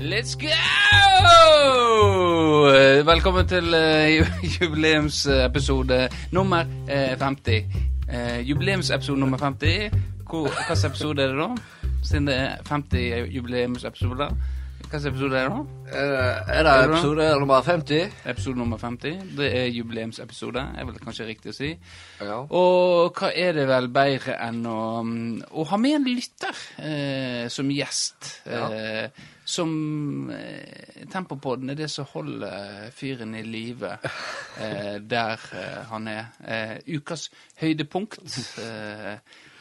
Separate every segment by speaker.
Speaker 1: Let's go! Eh, Velkommen til eh, ju- jubileumsepisode nummer eh, 50. Eh, Jubileumsepisode nummer 50. Hvor- Hvilken episode er det da? Siden det er 50 jubileumsepisoder. Hvilken episode er det da?
Speaker 2: Er det episode nummer 50?
Speaker 1: Episode nummer 50. Det er jubileumsepisode, er vel kanskje riktig å si.
Speaker 2: Ja.
Speaker 1: Og hva er det vel bedre enn å, mm, å ha med en lytter eh, som gjest?
Speaker 2: Ja.
Speaker 1: Eh, som eh, Tempopodden er det som holder fyren i live eh, der eh, han er. Eh, ukas høydepunkt. Eh,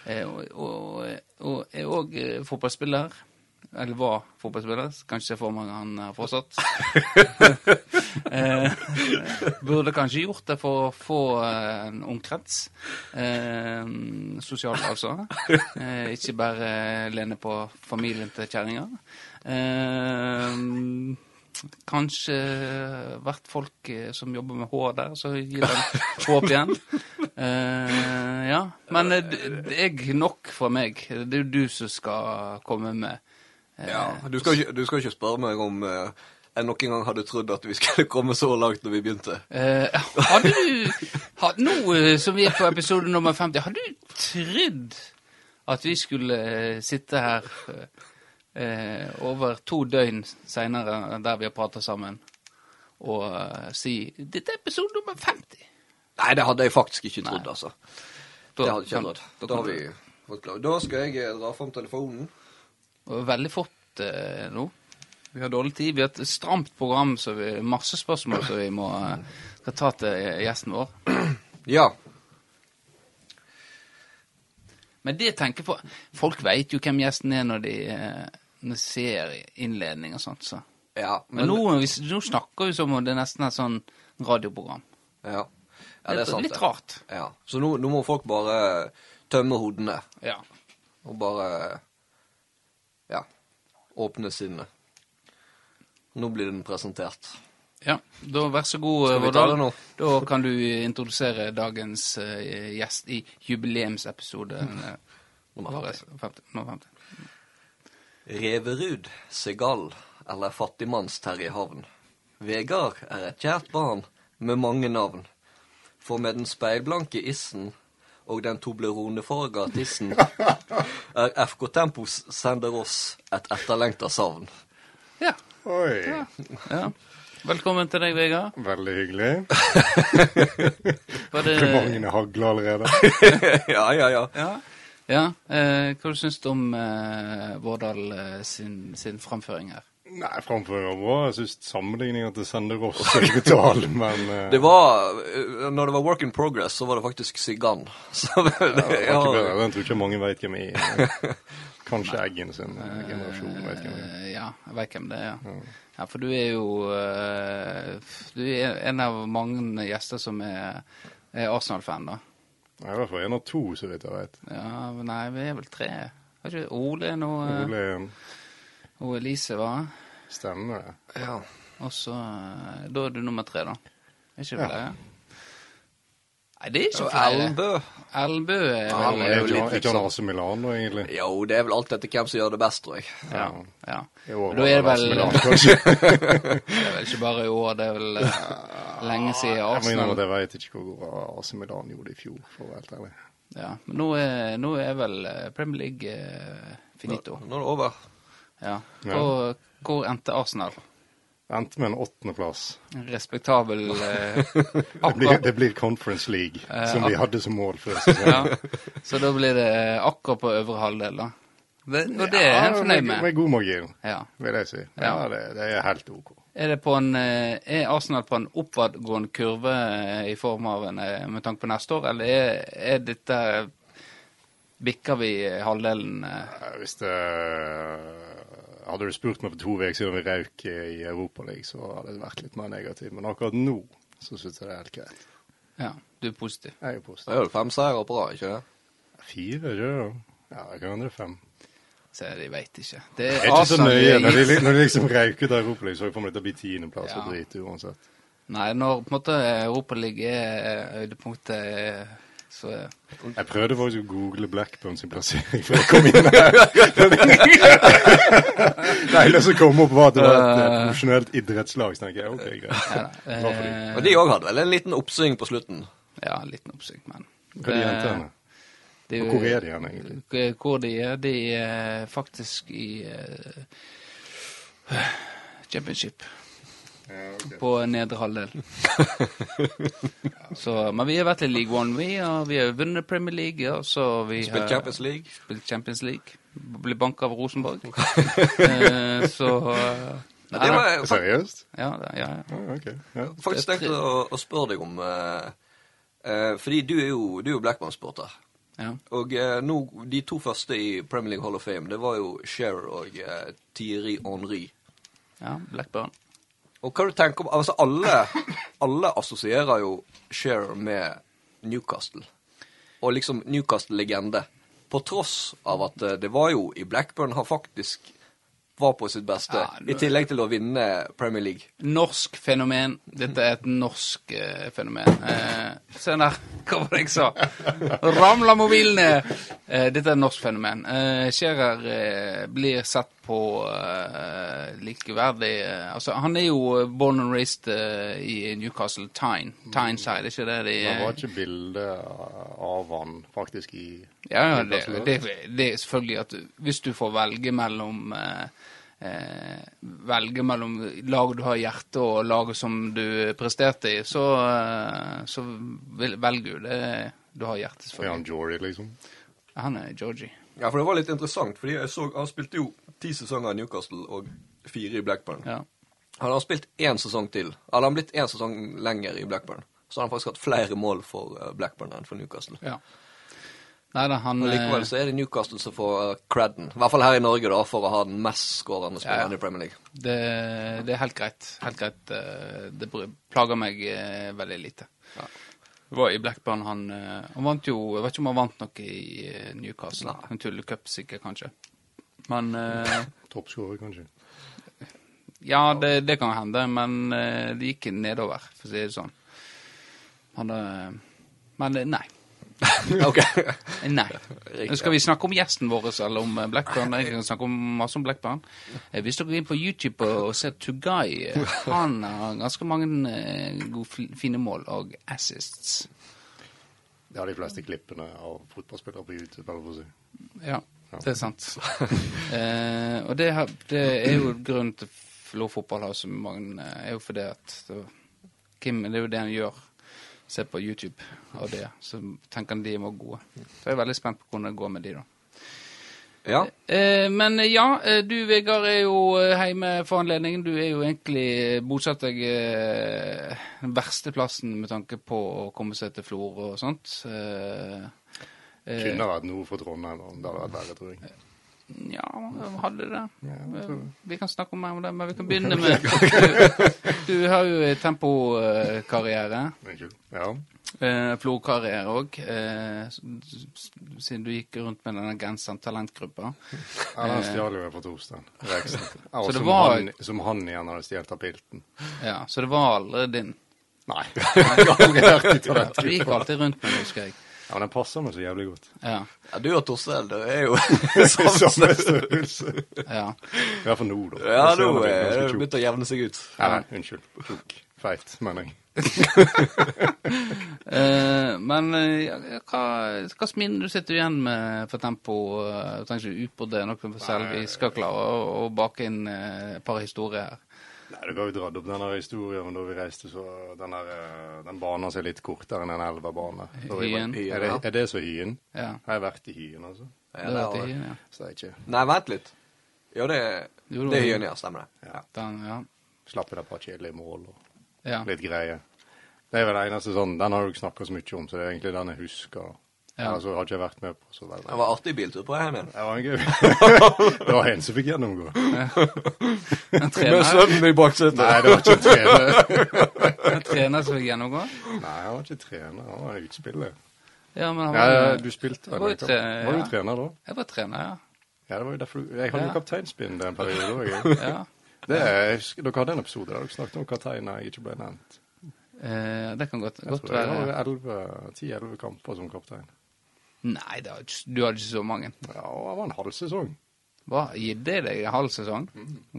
Speaker 1: eh, og, og, og er òg eh, fotballspiller. Eller var fotballspiller. Kanskje for mange han har fortsatt. Eh, burde kanskje gjort det for å få eh, en omkrets. Eh, sosialt, altså. Eh, ikke bare lene på familien til kjerringa. Eh, kanskje vært folk eh, som jobber med hår der, så gir det håp igjen. Eh, ja. Men eh, d- det er nok for meg. Det er jo du som skal komme med eh,
Speaker 2: ja. Du, skal ikke, du skal ikke spørre meg om eh, jeg nok en gang hadde trodd at vi skulle komme så langt når vi begynte.
Speaker 1: Eh, hadde du had, Nå eh, som vi er på episode nummer 50, hadde du trodd at vi skulle eh, sitte her eh, eh, over to døgn seinere der vi har prata sammen, og eh, si 'Dette er episode nummer 50'?
Speaker 2: Nei, det hadde jeg faktisk ikke trodd,
Speaker 1: Nei.
Speaker 2: altså.
Speaker 1: Da-
Speaker 2: det hadde ikke jeg
Speaker 1: kan-
Speaker 2: trodd.
Speaker 1: da
Speaker 2: Da, har
Speaker 1: kan-
Speaker 2: vi fått klar. Da skal jeg eh, dra fram telefonen.
Speaker 1: Og Veldig fort eh, nå. Vi har dårlig tid. Vi har et stramt program, så vi masse spørsmål som vi må eh, skal ta til gjesten vår.
Speaker 2: Ja.
Speaker 1: Men det tenker på Folk veit jo hvem gjesten er når de, eh, når de ser innledning og sånt. så.
Speaker 2: Ja,
Speaker 1: Men, nå, hvis- nå snakker vi som om det nesten er sånn radioprogram.
Speaker 2: Ja. ja, det er sant.
Speaker 1: litt
Speaker 2: det.
Speaker 1: rart.
Speaker 2: Ja. Så nå, nå må folk bare tømme hodene
Speaker 1: Ja.
Speaker 2: og bare Ja. Åpne sinnet. Nå blir den presentert.
Speaker 1: ja. Da vær så god,
Speaker 2: Skal vi ta det
Speaker 1: Vårdal.
Speaker 2: nå?
Speaker 1: Da kan du introdusere dagens eh, gjest i jubileumsepisoden. eh,
Speaker 2: Nummer
Speaker 1: vår
Speaker 2: 50.
Speaker 1: 50. Nummer 50.
Speaker 2: Reverud, Segal eller Fattigmanns-Terje Havn. Vegard er et kjært barn med mange navn. For med den speilblanke issen og den tobleronefarga tissen er FK Tempos sender oss et etterlengta savn.
Speaker 1: Ja.
Speaker 3: Oi,
Speaker 1: ja. Velkommen til deg, Vegard.
Speaker 3: veldig hyggelig.
Speaker 2: Eh.
Speaker 1: Var
Speaker 3: Komplimentene hagler allerede.
Speaker 2: ja, ja, ja.
Speaker 1: Ja. ja. Eh, hva du syns du om eh, Vårdal eh, sin, sin framføring her?
Speaker 3: Nei, framføring var bra. Jeg syns sammenligninga til Sende Ross er brutal, men eh,
Speaker 2: Det var eh, Når det var Work in Progress, så var det faktisk Sigan. Så det,
Speaker 3: det var ikke bedre. Jeg tror ikke mange vet hvem jeg er. Kanskje Eggen sin eh, generasjon vet hvem jeg er.
Speaker 1: Eh, ja, jeg vet hvem det er. Ja. Ja, for du er jo eh, Du er en av mange gjester som er, er Arsenal-fan, da.
Speaker 3: Jeg er i hvert fall en av to, så vidt jeg vet.
Speaker 1: Ja, men Nei, vi er vel tre. Har ikke Ole nå eh,
Speaker 3: Ole er en
Speaker 1: og Elise, hva?
Speaker 3: stemme. det.
Speaker 2: ja.
Speaker 1: Og så eh, Da er du nummer tre, da. Er ikke
Speaker 3: Ja.
Speaker 1: det? Ja. Nei, det er ikke
Speaker 2: Og
Speaker 1: flere.
Speaker 2: Elbø
Speaker 1: Elbø er
Speaker 2: Ja,
Speaker 1: vel
Speaker 3: Han
Speaker 2: men
Speaker 3: er
Speaker 2: jo
Speaker 3: ikke
Speaker 2: litt
Speaker 3: han- er ikke han
Speaker 2: liksom-
Speaker 3: AC Milan, da, egentlig?
Speaker 2: Jo, det er vel alt etter hvem som gjør det best, tror jeg.
Speaker 1: ja,
Speaker 3: Ja.
Speaker 1: ja.
Speaker 3: I år
Speaker 1: Da er det
Speaker 3: var han AC
Speaker 1: vel
Speaker 3: Milan, kanskje.
Speaker 1: Det er vel ikke bare i år, det er vel eh, lenge siden
Speaker 3: Jeg må innrømme
Speaker 1: Arsenal
Speaker 3: at jeg vet ikke hvor bra AC Milan gjorde det i fjor, for å være helt ærlig.
Speaker 1: Ja, men nå er, nå er vel eh, Premier League eh, finito.
Speaker 2: Nå er det over.
Speaker 1: Ja.
Speaker 3: Ja.
Speaker 1: Hvor, hvor endte Arsenal?
Speaker 3: Endte med en åttendeplass.
Speaker 1: En Respektabel eh,
Speaker 3: Det blir,
Speaker 1: akkurat,
Speaker 3: det blir Conference League,
Speaker 1: Eh,
Speaker 3: som vi
Speaker 1: ak-
Speaker 3: hadde som mål før sesongen.
Speaker 1: ja. Så da blir det eh, akkurat på øvre halvdel, da. Det, og det er jeg fornøyd
Speaker 3: Med,
Speaker 1: med.
Speaker 3: med god margin,
Speaker 1: Ja.
Speaker 3: vil jeg si. Ja,
Speaker 1: Ja.
Speaker 3: det, det er helt OK.
Speaker 1: Er, det på en, eh, er Arsenal på en oppadgående kurve eh, i form av en eh, med tanke på neste år, eller er, er dette Bikker vi halvdelen eh,
Speaker 3: Eh, Hvis det Hadde du spurt meg for to uker siden om vi røyk i i Europaligaen, så hadde det vært litt mer negativt. Men akkurat nå så syns jeg det er helt greit.
Speaker 1: Ja, du er positiv.
Speaker 3: Jeg er jo
Speaker 2: Det er
Speaker 3: positiv.
Speaker 2: vel fem seire på rad, ikke det?
Speaker 3: Fire, ikke sant? Ja, det kan hende det er fem.
Speaker 1: Så de veit ikke. Det
Speaker 3: Jeg er ikke så nøye.
Speaker 1: det er
Speaker 3: Når de,
Speaker 1: is-
Speaker 3: li- når de liksom røyk ut av Europaligaen, så jeg for meg dette blir tiendeplass
Speaker 1: Ja.
Speaker 3: og drit uansett.
Speaker 1: Nei, når på en måte Europaligaen er høydepunktet, Så eh,
Speaker 3: Jeg prøvde faktisk å google Blackburn sin plassering før jeg kom inn her. Det eneste som kom opp, var at det var et eh, profesjonelt idrettslag. Så tenkte jeg, ok, greit. Bra for
Speaker 1: eh,
Speaker 3: de.
Speaker 2: Og de òg hadde vel en liten oppsving på slutten.
Speaker 1: ja, en liten oppsving, men Eh,
Speaker 3: Hva er de jentene?
Speaker 1: det
Speaker 3: Og
Speaker 1: jo-
Speaker 3: hvor er de igjen, egentlig?
Speaker 1: K- Hvor de er? De er faktisk i eh, championship. På nedre halvdel. så, men vi har vært i League One, vi. Og vi har vunnet Premier League. Og så har vi
Speaker 2: Spilt
Speaker 1: har
Speaker 2: Champions League.
Speaker 1: spilt Champions League. Ble banka av Rosenborg. Eh, så eh,
Speaker 2: Ja, det var jeg fa-
Speaker 3: Seriøst?
Speaker 1: ja, da- ja, ja.
Speaker 3: Ja, ok. Ja.
Speaker 2: faktisk
Speaker 1: det er
Speaker 2: tenkt å, å spørre deg om eh, eh, Fordi du er jo, du er jo Blackman-sporter.
Speaker 1: ja.
Speaker 2: Og eh, nå, de to første i Premier League Hall of Fame, det var jo Scherer og eh, Thierry Henry.
Speaker 1: ja Blackburn.
Speaker 2: Og hva du tenker om Altså, alle, alle assosierer jo Scherer med Newcastle. Og liksom Newcastle-legende. På tross av at eh, det var jo i Blackburn han faktisk var på sitt beste.
Speaker 1: Ja, nå-
Speaker 2: I tillegg til å vinne Premier League.
Speaker 1: Norsk fenomen. Dette er et norsk eh, fenomen. Eh, se der, hva var det jeg sa? Ramla mobilen ned! Eh, dette er et norsk fenomen. Eh, Scherer eh, blir sett på eh, likeverdig eh, Altså, han er jo eh, born and raised eh, i Newcastle Tyne. Tyneside, er ikke det de
Speaker 3: Det
Speaker 1: eh,
Speaker 3: var ikke bilde av han faktisk i
Speaker 1: ja, ja, det, det, det er selvfølgelig at hvis du får velge mellom eh, eh, Velge mellom lag du har i hjertet og laget som du presterte i, så, eh, så vil, velger du det du har i hjertet,
Speaker 3: Er han
Speaker 1: selvfølgelig.
Speaker 3: Jory, liksom?
Speaker 1: Han er Georgie.
Speaker 2: Ja, for det var litt interessant, fordi jeg så han spilte jo ti sesonger i Newcastle og fire i Blackburn.
Speaker 1: Ja.
Speaker 2: Han har spilt én sesong til. Eller han har blitt én sesong lenger i Blackburn. Så har han faktisk hatt flere mål for eh, Blackburn enn for Newcastle.
Speaker 1: ja. Nei da, han
Speaker 2: Og likevel
Speaker 1: eh,
Speaker 2: så er det Newcastle som får eh, creden. I hvert fall her i Norge, da, for å ha den mest skårende spilleren
Speaker 1: Ja, ja.
Speaker 2: i Premier League.
Speaker 1: det, det er helt greit. Helt greit. eh, Det bry- plager meg eh, veldig lite. Det var i Blackburn han eh, Han vant jo Jeg vet ikke om han vant noe i eh, Newcastle.
Speaker 2: Nei.
Speaker 1: En tullecup sikkert, kanskje. Men eh,
Speaker 3: Toppskårer, kanskje?
Speaker 1: Ja, det, det kan hende, men eh, det gikk nedover, for å si det sånn. Han eh, Men eh, nei.
Speaker 2: Ok.
Speaker 1: Nei.
Speaker 2: Riktig.
Speaker 1: Nå skal vi snakke om gjesten vår eller om eh, Blackburn. Jeg kan snakke om masse om Blackburn. Eh, Hvis dere går inn på YouTube og og ser Tugay, eh, han har ganske mange eh, gode, fi- fine mål og assists.
Speaker 3: Det har de fleste klippene av fotballspillere på YouTube. eller for å si.
Speaker 1: Ja, det er sant. eh, og det, har, det er jo grunnen til f- lovfotball har så mange eh, er jo fordi at det, Kim, det er jo det han gjør. Se på YouTube og det. Så tenker han de var gode. Så jeg er veldig spent på hvordan det går med de, da.
Speaker 2: Ja.
Speaker 1: Eh, men eh, ja, eh, du Vegard er jo eh, hjemme for anledningen. Du er jo egentlig eh, bosatt deg eh, den verste plassen med tanke på å komme seg til Florø og sånt. Eh, eh,
Speaker 3: Kunne ha vært noe for Trondheim, men det hadde vært verre, tror jeg.
Speaker 1: Ja, hadde det. Eh,
Speaker 3: Ja, jeg tror det.
Speaker 1: Vi kan snakke mer om det, men vi kan begynne med Du, du har jo eh, tempokarriere.
Speaker 3: Unnskyld. Ja.
Speaker 1: Eh, Florkarriere òg. Eh, s- s- siden du gikk rundt med denne genseren, talentgruppa.
Speaker 3: Ja, den stjal jo jeg fra Torstein Reksten. Ja,
Speaker 1: Eh.
Speaker 3: og
Speaker 1: Så det
Speaker 3: som,
Speaker 1: var-
Speaker 3: han, som han igjen hadde stjålet av pilten.
Speaker 1: Ja, så det var aldri din.
Speaker 3: Nei. Jeg har aldri vært i
Speaker 1: Du
Speaker 3: toalettgruppa.
Speaker 1: gikk alltid rundt med den, husker jeg.
Speaker 3: Ja, men den passer meg så jævlig godt.
Speaker 1: Ja,
Speaker 2: ja du og Torstein, det er jo
Speaker 3: Samme
Speaker 2: samme
Speaker 3: størrelse. I
Speaker 1: ja.
Speaker 3: hvert fall nå, da.
Speaker 2: Ja,
Speaker 3: Jeg ser
Speaker 2: nå
Speaker 3: han
Speaker 2: er
Speaker 3: ganske
Speaker 2: det
Speaker 3: tjukk.
Speaker 2: begynt å jevne seg ut.
Speaker 3: Nei, nei, unnskyld. Tjukk. Feit, mener jeg.
Speaker 1: Eh, men eh, ja, hva, hva sminn du sitter igjen med for tempo? eh, Du trenger ikke utbrodere noe for selv. Vi skal klare å, å bake inn eh, et par historier her.
Speaker 3: Nei, Du har jo dratt opp denne historien om da vi reiste, så den, her, eh, den banen som er litt kortere enn en elvebane. Da vi var-
Speaker 1: Hyen.
Speaker 3: Er det, er det så Hyen?
Speaker 1: Ja.
Speaker 3: Har jeg vært i Hyen, altså?
Speaker 2: Ja,
Speaker 1: det
Speaker 2: det
Speaker 1: vet
Speaker 2: har-
Speaker 1: jeg ikke, ja.
Speaker 3: Så jeg ikke
Speaker 2: Nei, vent litt. Ja, det,
Speaker 1: Jo, det
Speaker 2: det er
Speaker 1: var-
Speaker 2: Hyenia, stemmer det. Ja.
Speaker 1: Den, ja.
Speaker 3: slapp jeg det på kjedelig mål og
Speaker 1: Ja.
Speaker 3: litt greie. Det er vel det eneste sånn, Den har du ikke snakka så mye om, så det er egentlig den jeg husker.
Speaker 1: Ja.
Speaker 3: Ellers har jeg ikke vært med på så veldig.
Speaker 2: Det var artig biltur på veien igjen.
Speaker 3: Det var en gøy. det var en som fikk gjennomgå.
Speaker 1: En trener,
Speaker 2: i baksetet.
Speaker 3: Nei, det var ikke en trener.
Speaker 1: en trener som vil gjennomgå?
Speaker 3: Nei, han var ikke trener, han var utspiller.
Speaker 1: Ja, men han
Speaker 3: Ja,
Speaker 1: var,
Speaker 3: ja, du
Speaker 1: Jeg
Speaker 3: spilte vel?
Speaker 1: var jo
Speaker 3: ikke?
Speaker 1: tre-
Speaker 3: Var
Speaker 1: ja.
Speaker 3: du trener da?
Speaker 1: Jeg var trener, ja.
Speaker 3: Ja, det var jo derfor du Jeg hadde jo
Speaker 1: Ja.
Speaker 3: kapteinspinn den perioden òg.
Speaker 1: ja.
Speaker 3: Dere hadde en episode der dere snakket om kapteiner jeg ikke ble nevnt.
Speaker 1: Eh, det kan godt,
Speaker 3: Jeg
Speaker 1: godt
Speaker 3: tror jeg
Speaker 1: være
Speaker 3: har 11 10-11 kamper som kaptein.
Speaker 1: Nei, det var ikke, du hadde ikke så mange.
Speaker 3: Ja, og det var en halv sesong.
Speaker 1: Hva? Gitt det deg en halv sesong?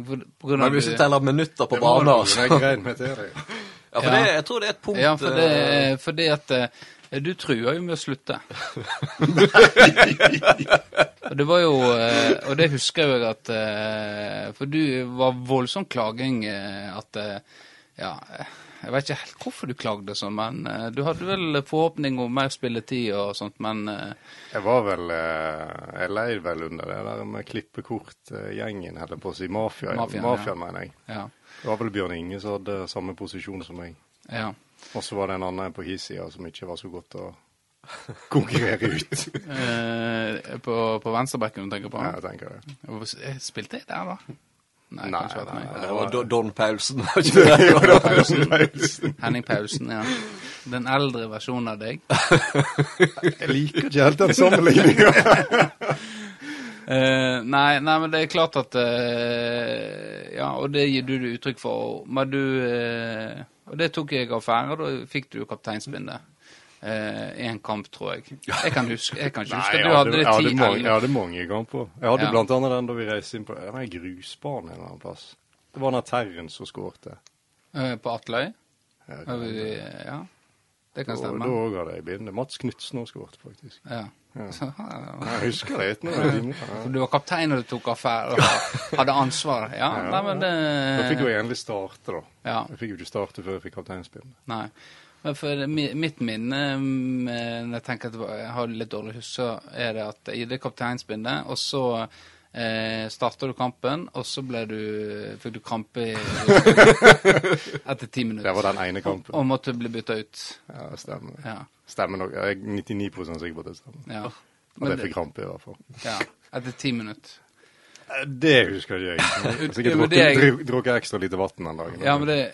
Speaker 1: For, på grunn
Speaker 2: Men
Speaker 1: av
Speaker 2: Mm. hvis du
Speaker 1: du-
Speaker 2: teller minutter på banen, altså.
Speaker 3: Jeg grein meg til det.
Speaker 2: Ja, for
Speaker 1: Ja.
Speaker 2: det, jeg tror det er et punkt
Speaker 1: Ja, for
Speaker 2: eh,
Speaker 1: det, for det at eh, du trua jo med å slutte. og det var jo eh, Og det husker jeg jo at eh, For du var voldsom klaging eh, at eh, Ja, eh, jeg vet ikke helt hvorfor du klagde sånn, men eh, du hadde vel forhåpning om mer spilletid og sånt, men eh,
Speaker 3: Jeg var vel eh, Jeg leid vel under det der med klippekort-gjengen, holder jeg på å si. Mafia,
Speaker 1: Mafiaen,
Speaker 3: Mafiaen,
Speaker 1: ja.
Speaker 3: mener jeg.
Speaker 1: ja.
Speaker 3: Det var vel Bjørn Inge som hadde samme posisjon som meg.
Speaker 1: ja.
Speaker 3: Og så var det en annen på hissida som ikke var så godt å konkurrere ut.
Speaker 1: Eh, på, på venstrebekken du tenker på?
Speaker 3: Ja, jeg tenker det.
Speaker 1: eh, Spilte jeg der, da? Nei,
Speaker 3: Nei,
Speaker 1: kanskje
Speaker 3: nei,
Speaker 1: nei.
Speaker 3: nei.
Speaker 2: Det var Do- Don Paulsen, var ikke det?
Speaker 1: Henning Paulsen, ja. Den eldre versjonen av deg.
Speaker 3: Jeg liker ikke helt den sammenligninga.
Speaker 1: Eh, nei, nei, men det er klart at eh, Ja, og det gir du det uttrykk for. og- Men du eh, Og det tok jeg affære, og da fikk du jo kapteinsbindet. Én kamp, tror jeg. Jeg kan, huske, jeg kan ikke huske at
Speaker 3: jeg
Speaker 1: du hadde
Speaker 3: hadde,
Speaker 1: det
Speaker 3: jeg hadde,
Speaker 1: ti
Speaker 3: mange, jeg
Speaker 1: eller
Speaker 3: hadde mange kamper. Jeg hadde
Speaker 1: Ja.
Speaker 3: blant annet den da vi reiste inn på en grusbane en eller annen plass. Det var den der Terren som skårte.
Speaker 1: eh, på Atløy.
Speaker 3: Jeg-
Speaker 1: Og vi- Ja, det
Speaker 3: Da
Speaker 1: kan
Speaker 3: da
Speaker 1: stemme.
Speaker 3: òg hadde jeg bindet. Mats Knutsen har skåret, faktisk.
Speaker 1: Ja.
Speaker 3: Ja.
Speaker 1: Så, ja.
Speaker 3: Jeg husker det etter noen timer.
Speaker 1: For du var kaptein og du tok affære og hadde ansvar. Ja,
Speaker 3: Ja.
Speaker 1: nei, men
Speaker 3: Da fikk jo
Speaker 1: det
Speaker 3: jeg endelig starte, da.
Speaker 1: ja.
Speaker 3: Jeg fikk jo ikke starte før jeg fikk kapteinspinn.
Speaker 1: Nei. Men for det- mi- mitt minne mm, eh, når jeg tenker at det var- jeg har litt dårlig husk, så er det at i det kapteinsbindet, og så eh, starter du kampen, og så ble du, fikk du krampe i, etter ti
Speaker 3: Det var
Speaker 1: minutter.
Speaker 3: den ene
Speaker 1: Og,
Speaker 3: kampen.
Speaker 1: og måtte bli bytta ut.
Speaker 3: Ja, stemmer.
Speaker 1: Ja.
Speaker 3: Stemmer nok. Jeg er 99 sikker på at det stemmer.
Speaker 1: ja.
Speaker 3: At
Speaker 1: Men
Speaker 3: jeg fikk krampe, i hvert fall.
Speaker 1: ja. Etter ti minutter.
Speaker 3: Eh, Det husker ikke jeg. Jeg har
Speaker 1: Ja,
Speaker 3: Sikkert
Speaker 1: men det er-
Speaker 3: drukket- dru- drukket ekstra lite vann den dagen.
Speaker 1: Ja, men det,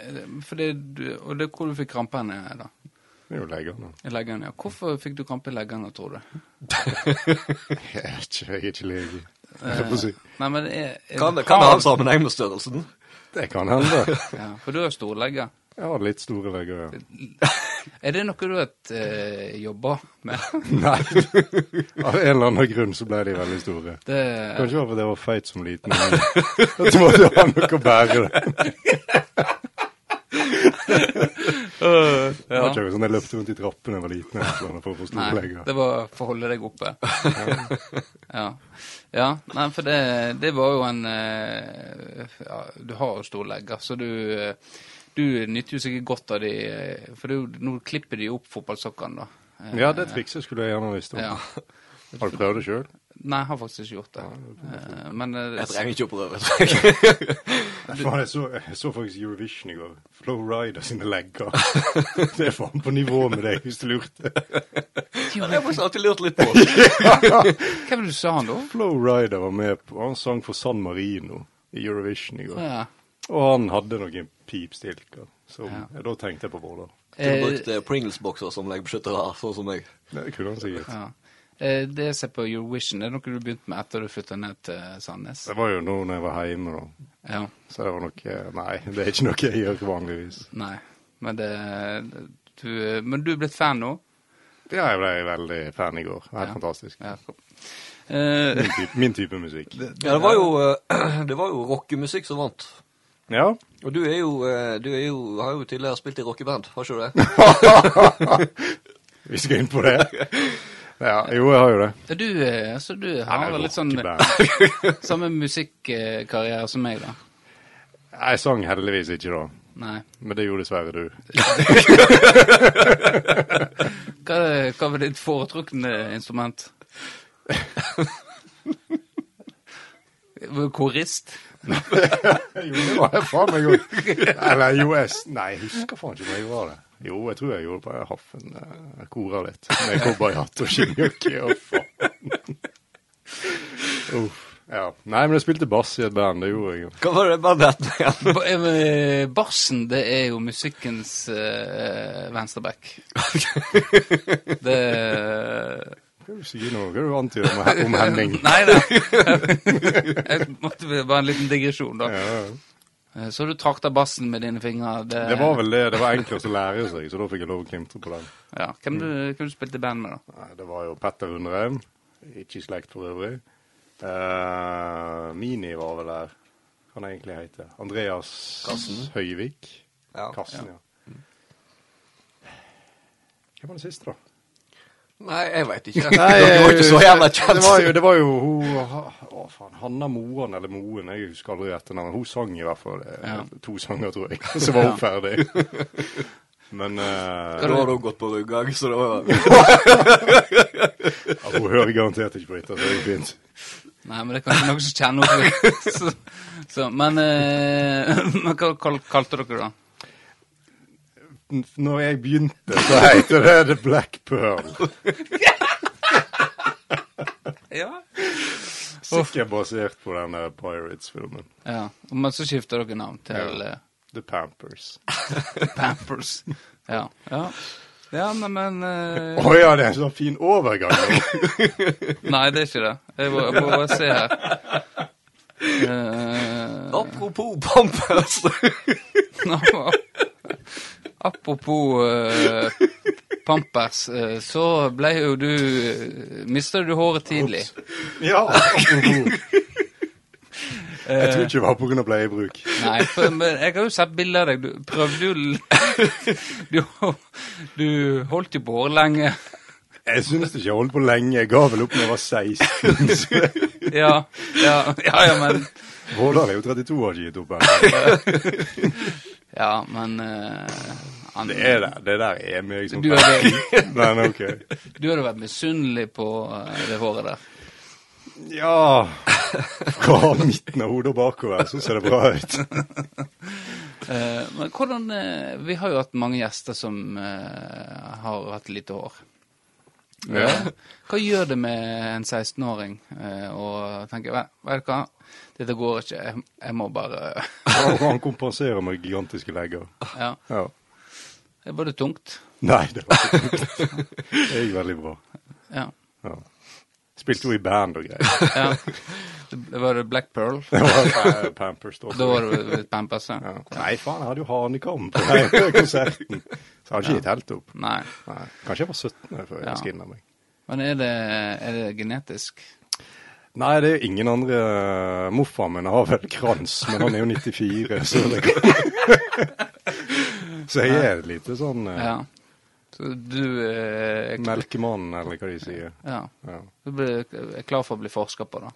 Speaker 1: for det du- Og det er hvor du fikk krampe henne, da?
Speaker 3: Det er jo leggende.
Speaker 1: I leggene, ja. Hvorfor fikk du krampe i leggene, tror du?
Speaker 3: Jeg er ikke, jeg er ikke lege. Jeg får si.
Speaker 1: Eh, Nei, men det er, er
Speaker 2: Kan, kan det ha en sånn- sammenheng med størrelsen?
Speaker 3: Det kan hende.
Speaker 1: Ja, for du har storlegger.
Speaker 3: Jeg har litt store legger, ja.
Speaker 1: Er det noe du har eh, jobba med?
Speaker 3: Nei. Av en eller annen grunn så ble de veldig store.
Speaker 1: Det,
Speaker 3: Kanskje det var fordi jeg var feit som liten. men At du måtte ha noe å bære. Det var
Speaker 1: ja.
Speaker 3: ikke akkurat sånn jeg løpte rundt i trappene da jeg var liten eller noe for å få
Speaker 1: Nei,
Speaker 3: store legger.
Speaker 1: det var for å holde deg oppe. Ja. ja nei, for det, det var jo en eh, ja, Du har jo stor legger, så du eh, du nytter jo sikkert godt av de eh, For det, er jo- nå klipper de opp fotballsokkene, da. Eh,
Speaker 3: Ja, det trikset skulle jeg gjerne visst om.
Speaker 1: ja.
Speaker 3: Har du prøvd det sjøl?
Speaker 1: Nei, jeg har faktisk ikke gjort det. Eh, Men eh,
Speaker 2: Jeg trenger ikke opprøre.
Speaker 3: Jeg så, jeg så faktisk Eurovision i går. Flow Rider sine legger. Det er faen på nivå med deg, hvis du lurte.
Speaker 1: jo,
Speaker 2: Jeg har
Speaker 1: men
Speaker 2: faktisk alltid lurt litt på.
Speaker 1: Hva var det du sa han da?
Speaker 3: Flow Rider var med på Han sang for San Marino i Eurovision i går.
Speaker 1: Ja.
Speaker 3: Og han hadde noen pipstilker. Så
Speaker 1: Ja.
Speaker 3: jeg da tenkte jeg på Våler.
Speaker 2: Du
Speaker 1: Eh,
Speaker 2: brukte Pringles-bokser som leggbeskyttere, sånn som meg.
Speaker 3: Det kunne han sikkert.
Speaker 1: Ja. Eh, Det jeg ser på Eurovision, er det noe du begynte med etter du flytta ned til Sandnes?
Speaker 3: Det var jo nå når jeg var hjemme, da.
Speaker 1: Ja.
Speaker 3: Så det var nok eh, Nei, det er ikke noe jeg gjør vanligvis.
Speaker 1: Nei. Men, det, du, men du er blitt fan nå?
Speaker 3: Ja, jeg ble veldig fan i går. Helt
Speaker 1: Ja.
Speaker 3: fantastisk.
Speaker 1: Ja. Eh,
Speaker 3: Min type, min type musikk.
Speaker 2: Ja, det var jo, eh, det var jo rockemusikk som vant.
Speaker 3: Ja.
Speaker 2: Og du er jo, eh, du er jo, har jo tidligere spilt i rockeband, har ikke du det?
Speaker 3: Vi skal inn på det. Ja, jo, jeg har jo det.
Speaker 1: du, eh, så du har
Speaker 3: Jeg
Speaker 1: vel
Speaker 3: er
Speaker 1: litt sånn
Speaker 3: rockeband.
Speaker 1: samme musikkarriere som meg, da?
Speaker 3: Jeg sang heldigvis ikke da,
Speaker 1: Nei.
Speaker 3: men det gjorde dessverre du.
Speaker 1: Hva, hva var ditt foretrukne instrument? Korist?
Speaker 3: Jo, det var jeg faen meg god. Eller jo, jeg s- Nei, jeg husker faen ikke om jeg gjorde det. Jo, jeg tror jeg gjorde det på Haffen. Jeg kora litt med cowboyhatt og skinnjakke og faen. Uff. Ja. Nei, men jeg spilte bass i et band, det gjorde jeg jo.
Speaker 2: Hva var det bandet het igjen?
Speaker 1: Ba- eh, Barsen, det er jo musikkens uh, venstreback. Det
Speaker 3: Kan du si noe? Kan du antyde om, Hen- om Henning?
Speaker 1: Nei da. Jeg måtte bare en liten digresjon, da.
Speaker 3: Ja, ja.
Speaker 1: Eh, Så du trakta bassen med dine fingre.
Speaker 3: Det var vel det. Det var enklest å lære seg, så da fikk jeg lov å klimtre på den.
Speaker 1: Ja. Hvem du,
Speaker 3: Mm.
Speaker 1: hvem du spilte i band med, da?
Speaker 3: Nei, Det var jo Petter Undreim, ikke i slekt for øvrig. Eh, Mini var vel der. Han egentlig heter Andreas
Speaker 2: Karsten.
Speaker 3: Høyvik.
Speaker 2: Ja.
Speaker 3: Karsten, ja. Mm. Hvem var den siste, da?
Speaker 2: Nei, jeg veit ikke. Dere var ikke så jævla kjent.
Speaker 3: eh, Det var jo, det var jo hun Å, faen. Hanna Moan eller Moen, jeg husker aldri etternavnet. Hun sang i hvert fall eh,
Speaker 1: Ja.
Speaker 3: to sanger, tror jeg. Så var hun
Speaker 1: Ja.
Speaker 3: ferdig. Men eh,
Speaker 2: Da hadde hun gått på Rugag, så det var
Speaker 3: ja, hun hører garantert ikke på dette, så det er jo fint.
Speaker 1: Nei, men det er kanskje noen som kjenner henne. Så, så, men eh, men hva kal kalte dere det da?
Speaker 3: N- Når jeg begynte, så heter det The Black Pearl.
Speaker 1: Ja.
Speaker 3: Sikkert basert på den der Pirates-filmen.
Speaker 1: Men så skifta dere navn til
Speaker 3: Ja.
Speaker 1: eh,
Speaker 3: The Pampers.
Speaker 1: Pampers. Ja. ja. Ja, nei, men
Speaker 3: Å
Speaker 1: eh,
Speaker 3: ja, det er en sånn fin overgang. nå.
Speaker 1: Nei, det er ikke det. Jeg må, jeg må bare se her. Eh,
Speaker 2: Apropos Pampers.
Speaker 1: Nå, Apropos eh, Pampers, eh, så ble jo du Mista du håret tidlig?
Speaker 3: Ja. apropos. Jeg tror ikke det var pga. pleiebruk.
Speaker 1: Eh, Nei, for, men jeg har jo sett bilder av deg. Du prøvde jo l- Du, du holdt jo på håret lenge.
Speaker 3: Jeg syns ikke jeg holdt på lenge. Jeg ga vel opp da jeg var 16. så jeg-
Speaker 1: Ja, ja, ja, ja men
Speaker 3: Vårdal er jo 32 år gitt opp ennå.
Speaker 1: Ja, men eh, han,
Speaker 3: Det er det. Det der er meg som
Speaker 1: Du er
Speaker 3: Men ok.
Speaker 1: Du hadde vært misunnelig på eh, det håret der.
Speaker 3: Ja Fra midten av hodet og bakover, så ser det bra ut.
Speaker 1: Eh, men hvordan eh, Vi har jo hatt mange gjester som eh, har hatt lite hår.
Speaker 3: Ja.
Speaker 1: Eh, Hva gjør det med en 16-åring eh, å tenke "Vet- Vet du hva, dette går ikke, jeg, jeg må bare
Speaker 3: Og han kompenserer med gigantiske legger.
Speaker 1: Ja.
Speaker 3: Ja.
Speaker 1: Det var det tungt.
Speaker 3: Nei, det var ikke dumt. Det gikk veldig bra.
Speaker 1: Ja.
Speaker 3: Ja. Spilte jo i band og greier.
Speaker 1: ja. Det det var det Black Pearl.
Speaker 3: Det var eh, Pampers da.
Speaker 1: Da var det litt Pampers. ja.
Speaker 3: Ja. Nei, faen, jeg hadde jo hanekam på den konserten. Så jeg hadde ikke gitt helt opp.
Speaker 1: Nei.
Speaker 3: Nei. Kanskje jeg var 17 før
Speaker 1: Ja.
Speaker 3: jeg skinna meg.
Speaker 1: Men er det, er det genetisk?
Speaker 3: Nei, det er jo ingen andre eh, Morfar min har vel krans, men han er jo 94, så det kan Så jeg er et lite sånn eh,
Speaker 1: Ja. Så du eh, er, kl-
Speaker 3: melkemann, eller hva de sier.
Speaker 1: ja.
Speaker 3: Ja.
Speaker 1: du ble- er klar for å bli forsker på det?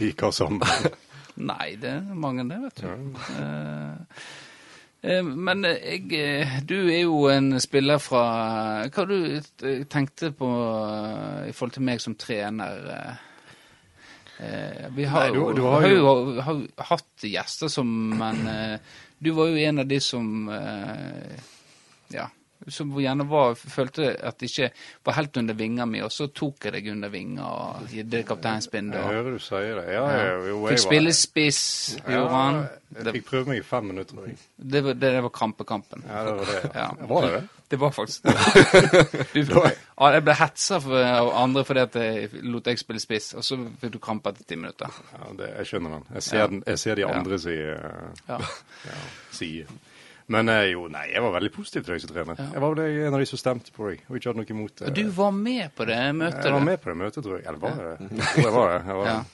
Speaker 3: I hva sammenheng.
Speaker 1: Nei, det er mange det, vet du.
Speaker 3: Ja.
Speaker 1: Eh, eh, Men eh, jeg, eh, du er jo en spiller fra Hva du eh, tenkte på eh, i forhold til meg som trener? eh? Eh, Vi har,
Speaker 3: Nei, du-
Speaker 1: jo,
Speaker 3: du har
Speaker 1: har, jo, har jo hatt gjester som Men eh, du var jo en av de som eh, Ja. Som gjerne var, følte at det ikke var helt under vinga mi, og så tok jeg deg under vinga og ga deg kapteinspinn.
Speaker 3: Jeg
Speaker 1: og-
Speaker 3: hører du sier det. Ja, ja. Jo, jeg
Speaker 1: Fikk
Speaker 3: var-
Speaker 1: spille spiss, gjorde han.
Speaker 3: Jeg
Speaker 1: Det,
Speaker 3: fikk prøve meg i fem minutter, tror jeg.
Speaker 1: det, var, det var kampekampen.
Speaker 3: Ja, det var det.
Speaker 1: Ja.
Speaker 3: Var det det?
Speaker 1: Det var faktisk det. Du, ja, jeg ble hetsa for- av andre fordi at jeg lot deg spille spiss, og så fikk du krampe etter ti minutter.
Speaker 3: Ja, det jeg skjønner den. Jeg ser,
Speaker 1: Ja.
Speaker 3: den, jeg ser de
Speaker 1: Ja.
Speaker 3: andre si, eh,
Speaker 1: Ja.
Speaker 3: ja, si. Men eh, jo, nei, jeg var veldig positiv til deg som trener. Jeg var vel en av de som stemte på deg, og ikke hadde noe imot det.
Speaker 1: Og du var med på det møtet.
Speaker 3: jeg var
Speaker 1: du.
Speaker 3: med på det møtet, tror jeg. Eller var jeg det? Jo, jeg var det. Jeg var
Speaker 1: Ja.
Speaker 3: det.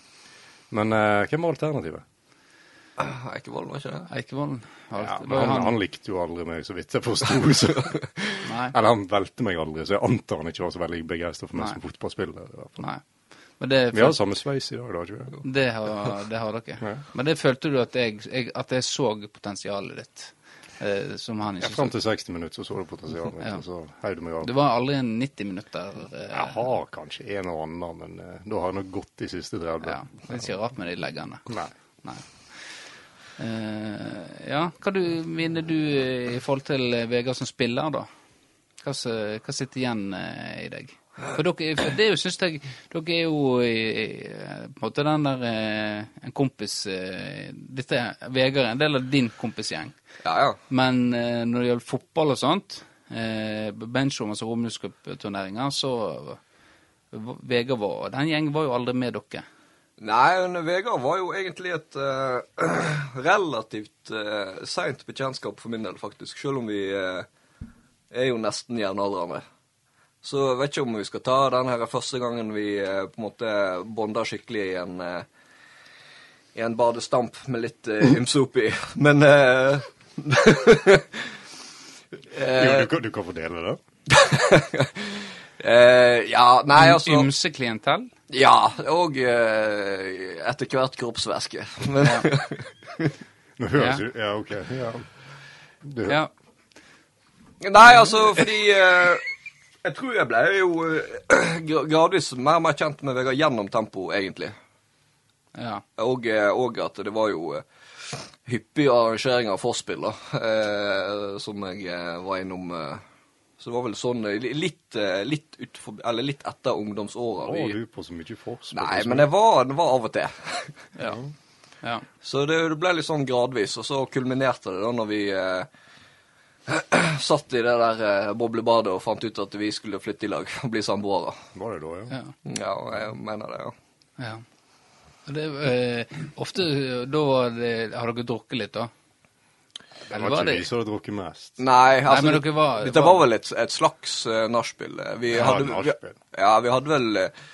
Speaker 3: Men eh, hvem var alternativet?
Speaker 2: Eikevold, var ikke det?
Speaker 1: Eikevolden. Var det-
Speaker 3: Ja, men
Speaker 1: var jo
Speaker 3: han,
Speaker 1: han-
Speaker 3: han likte jo aldri meg, så vidt jeg forsto. så-
Speaker 1: Nei.
Speaker 3: Eller han velte meg aldri, så jeg antar han ikke var så veldig begeistra for meg
Speaker 1: Nei.
Speaker 3: som fotballspiller. i hvert fall.
Speaker 1: Nei. Men det,
Speaker 3: Vi har samme sveis i dag, da, ikke vi?
Speaker 1: det, har, det har dere.
Speaker 3: Ja.
Speaker 1: Men det følte du at jeg, jeg, at jeg så potensialet ditt, eh, som han
Speaker 3: Ja,
Speaker 1: ikke
Speaker 3: Fram
Speaker 1: så.
Speaker 3: til 60 minutter så så du potensialet mitt,
Speaker 1: Ja.
Speaker 3: og så heiv du meg av.
Speaker 1: Det var aldri en 90 minutter. eh,
Speaker 3: Jeg har kanskje en og annen, men eh, da har jeg nok gått de siste 30.
Speaker 1: Ja, det er ikke rart med de leggene.
Speaker 3: Nei.
Speaker 1: Nei. Eh, ja, hva du, mener du eh, i forhold til eh, Vegard som spiller, da? Hva, som- hva sitter igjen eh, i deg? For dere, for det er jo, synes jeg, dere er jo i, i, eh, på en måte den der eh, en kompis eh, Dette er Vegard, er en del av din kompisgjeng.
Speaker 2: Ja, ja.
Speaker 1: Men eh, når det gjelder fotball og sånt, eh, benchrom, altså romjulscupturneringer, så Vegard var Den gjengen var jo aldri med dere.
Speaker 2: Nei, men Vegard var jo egentlig et eh, relativt uh, seint bekjentskap for min del, faktisk. Selv om vi eh, er jo nesten jevnaldrende. Så jeg vet ikke om vi skal ta den her første gangen vi eh, på en måte bonda skikkelig i en, eh, i en badestamp med litt uh, ymse oppi. Men eh,
Speaker 3: Jo, du, kan- du kan fordele det.
Speaker 2: eh, Ja, nei, altså
Speaker 1: Ymse klientell.
Speaker 2: Ja, og eh, etter hvert kroppsvæske. Men,
Speaker 3: Nå høres du Ja, OK. Ja. Du,
Speaker 1: Ja.
Speaker 2: Nei, altså, fordi eh, Jeg tror jeg ble jo eh, gra- gradvis mer og mer kjent med Vegard gjennom tempo, egentlig.
Speaker 1: ja.
Speaker 2: Og, eh, og at det var jo eh, hyppig arrangering av forspill, da, eh, som jeg eh, var innom. eh. så det var vel sånn eh, li- litt, eh, litt, utfor, eller litt etter ungdomsåra.
Speaker 3: Å,
Speaker 2: vi-
Speaker 3: du på så mye forspill.
Speaker 2: Nei, men det var, det var av og til.
Speaker 1: ja. ja.
Speaker 2: Så det, det ble litt sånn gradvis, og så kulminerte det da når vi eh, satt i det der eh, boblebadet og fant ut at vi skulle flytte i lag og bli samboere.
Speaker 3: Var det da, ja?
Speaker 1: ja.
Speaker 2: Ja, jeg mener det, ja.
Speaker 1: ja. Og Det, eh, ofte da var det, har dere drukket litt, da?
Speaker 3: Det var ikke vi som hadde drukket mest.
Speaker 2: Nei, altså,
Speaker 1: men dere var-
Speaker 2: dette
Speaker 1: var-
Speaker 2: var vel et, et slags uh, nachspiel. Vi
Speaker 3: Ja,
Speaker 2: hadde,
Speaker 3: nachspiel.
Speaker 2: Vi, ja, vi hadde vel eh,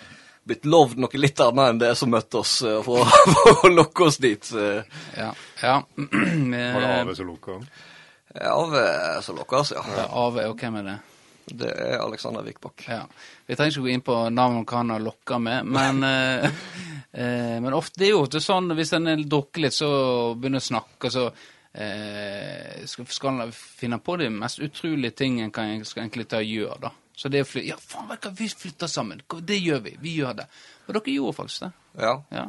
Speaker 2: blitt lovd noe litt annet enn det som møtte oss, eh, for, å- for å lokke oss dit. eh.
Speaker 1: Ja. ja.
Speaker 3: Var
Speaker 1: Eh,
Speaker 3: det Are som lukka?
Speaker 2: av eh, som lokket oss, ja.
Speaker 1: Ave, og hvem er det?
Speaker 2: Det er Alexander Vikbakk.
Speaker 1: Ja. Vi trenger ikke gå inn på navn hva han har lokka med, men, eh, eh, men ofte, det er jo ofte sånn hvis en drukker litt, så begynner å snakke, og så eh, skal, skal en finne på de mest utrolige ting en kan skal egentlig ta og gjøre, da. Så det å flytte Ja, faen, vet du hva, vi flytter sammen! Det gjør vi! Vi gjør det. Og dere gjorde faktisk det.
Speaker 2: Ja.
Speaker 1: Ja.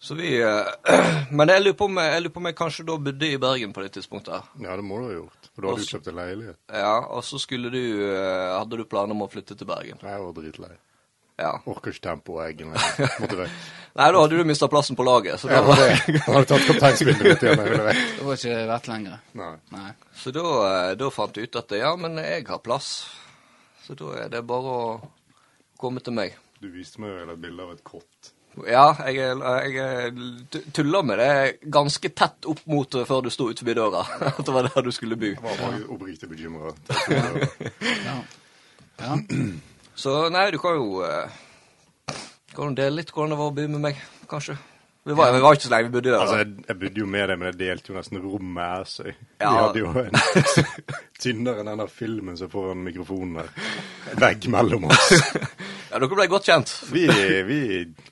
Speaker 2: Så vi eh, Men jeg lurer på om jeg, jeg, lurer på om jeg kanskje da bodde i Bergen på det tidspunktet. her.
Speaker 3: Ja, det må du ha gjort. For da hadde du
Speaker 2: Også-
Speaker 3: kjøpt en leilighet.
Speaker 2: Ja, og så skulle du eh, Hadde du planer om å flytte til Bergen?
Speaker 3: Nei, Jeg var dritlei.
Speaker 2: Ja.
Speaker 3: Orker ikke tempoet og eggene. Jeg Måtte vekk.
Speaker 2: Nei, da hadde du mista plassen på laget, så da,
Speaker 3: Jeg var det. Jeg hadde tatt kapteinspinnet mitt igjen. Jeg ville vekk.
Speaker 1: Det var ikke verdt lenger.
Speaker 3: Nei.
Speaker 1: Nei.
Speaker 2: så da, eh, da fant du ut at ja, men jeg har plass. Så da er det bare å komme til meg.
Speaker 3: Du viste meg vel et bilde av et kott.
Speaker 2: Ja, jeg, er- jeg er- tu- tuller med det ganske tett opp mot eh, før du sto utenfor døra. At det var der du skulle bo.
Speaker 3: Jeg var faktisk oppriktig bekymra.
Speaker 1: Ja. Ja.
Speaker 2: Så nei, du kan jo eh, Kan du dele litt hvordan det var å bo med meg, kanskje? Vi var, vi var ikke så lenge vi bodde der. da.
Speaker 3: Altså, jeg, jeg bodde jo med deg, men jeg delte jo nesten rommet med så jeg- Vi
Speaker 2: Ja.
Speaker 3: hadde jo en tynnere enn denne filmen som er foran mikrofonen der. Vegg mellom oss.
Speaker 2: Ja, dere ble godt kjent.
Speaker 3: Vi, vi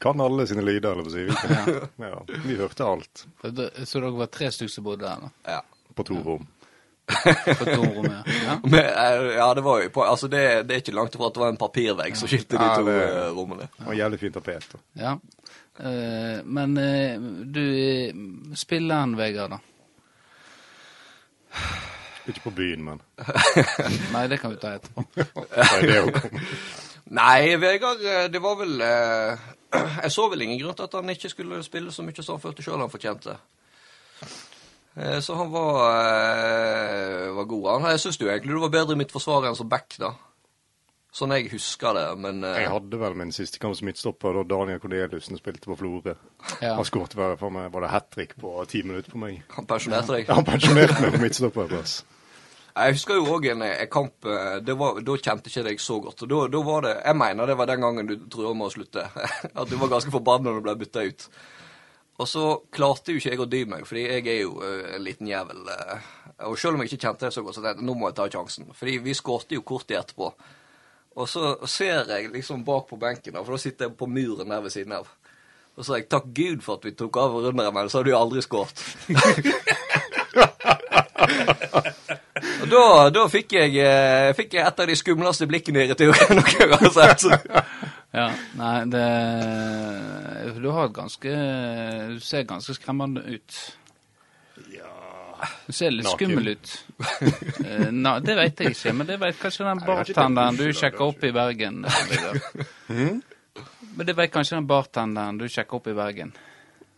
Speaker 3: kan alle sine lyder, eller hva skal jeg si. Vi, kan- ja, vi hørte alt
Speaker 1: Så dere- Så dere var tre stykker som bodde her, da?
Speaker 2: Ja.
Speaker 3: på to rom.
Speaker 1: På to rom? ja. Ja.
Speaker 2: Men, eh, ja, det var jo på, altså det, det er ikke langt ifra at det var en papirvegg som skilte de
Speaker 3: Ja,
Speaker 2: to
Speaker 3: det-
Speaker 2: eh, rommene.
Speaker 3: Og en jævlig fin tapet. da.
Speaker 1: Ja. Eh, men eh, du eh, spiller han, Vegard, da?
Speaker 3: Ikke på byen, men
Speaker 1: Nei, det kan vi ta etterpå.
Speaker 3: det er det å komme.
Speaker 2: Nei, Vegard, eh, det var vel eh, Jeg så vel ingen grunn til at han ikke skulle spille så mye som han følte sjøl han fortjente. Eh, Så han var, eh, var god, han. Jeg syns jo egentlig du var bedre i mitt forsvar enn som back, da. Sånn jeg husker det, men eh,
Speaker 3: Jeg hadde vel min siste kamp som midtstopper da Daniel Corneliussen spilte på Florø.
Speaker 1: Ja.
Speaker 3: Han skåret vel for meg, var det hat trick på ti minutter på meg?
Speaker 2: han pensjonerte deg.
Speaker 3: Han pensjonerte meg på midtstopperplass.
Speaker 2: Jeg husker jo òg en en kamp eh, det var, Da kjente ikke jeg deg så godt. og Da, da var det, Jeg mener det var den gangen du trua med å slutte. At du var ganske forbanna når du ble bytta ut. Og så klarte jo ikke jeg å dy meg, fordi jeg er jo eh, en liten jævel. eh. Og selv om jeg ikke kjente deg så godt, så tenkte jeg nå må jeg ta sjansen. Fordi vi skårte jo kort i etterpå. Og så ser jeg liksom bak på benken, da, for da sitter jeg på muren der ved siden av. Og så sa jeg takk Gud for at vi tok av runder, men så har du jo aldri skåret. Og da, da fikk, jeg, eh, fikk jeg et av de skumleste blikkene i retur noen gang har sett.
Speaker 1: Ja. Nei, det Du har et ganske Du ser ganske skremmende ut.
Speaker 3: Ja
Speaker 1: Du ser litt
Speaker 3: Naken.
Speaker 1: skummel ut. Eh, na, det vet jeg ikke, men det vet kanskje den
Speaker 3: jeg har ikke
Speaker 1: bartenderen
Speaker 3: tenkt på
Speaker 1: du
Speaker 3: det, det
Speaker 1: sjekka
Speaker 3: har jeg
Speaker 1: opp i Bergen. Vegard. Men det vet kanskje den bartenderen du sjekka opp i Bergen.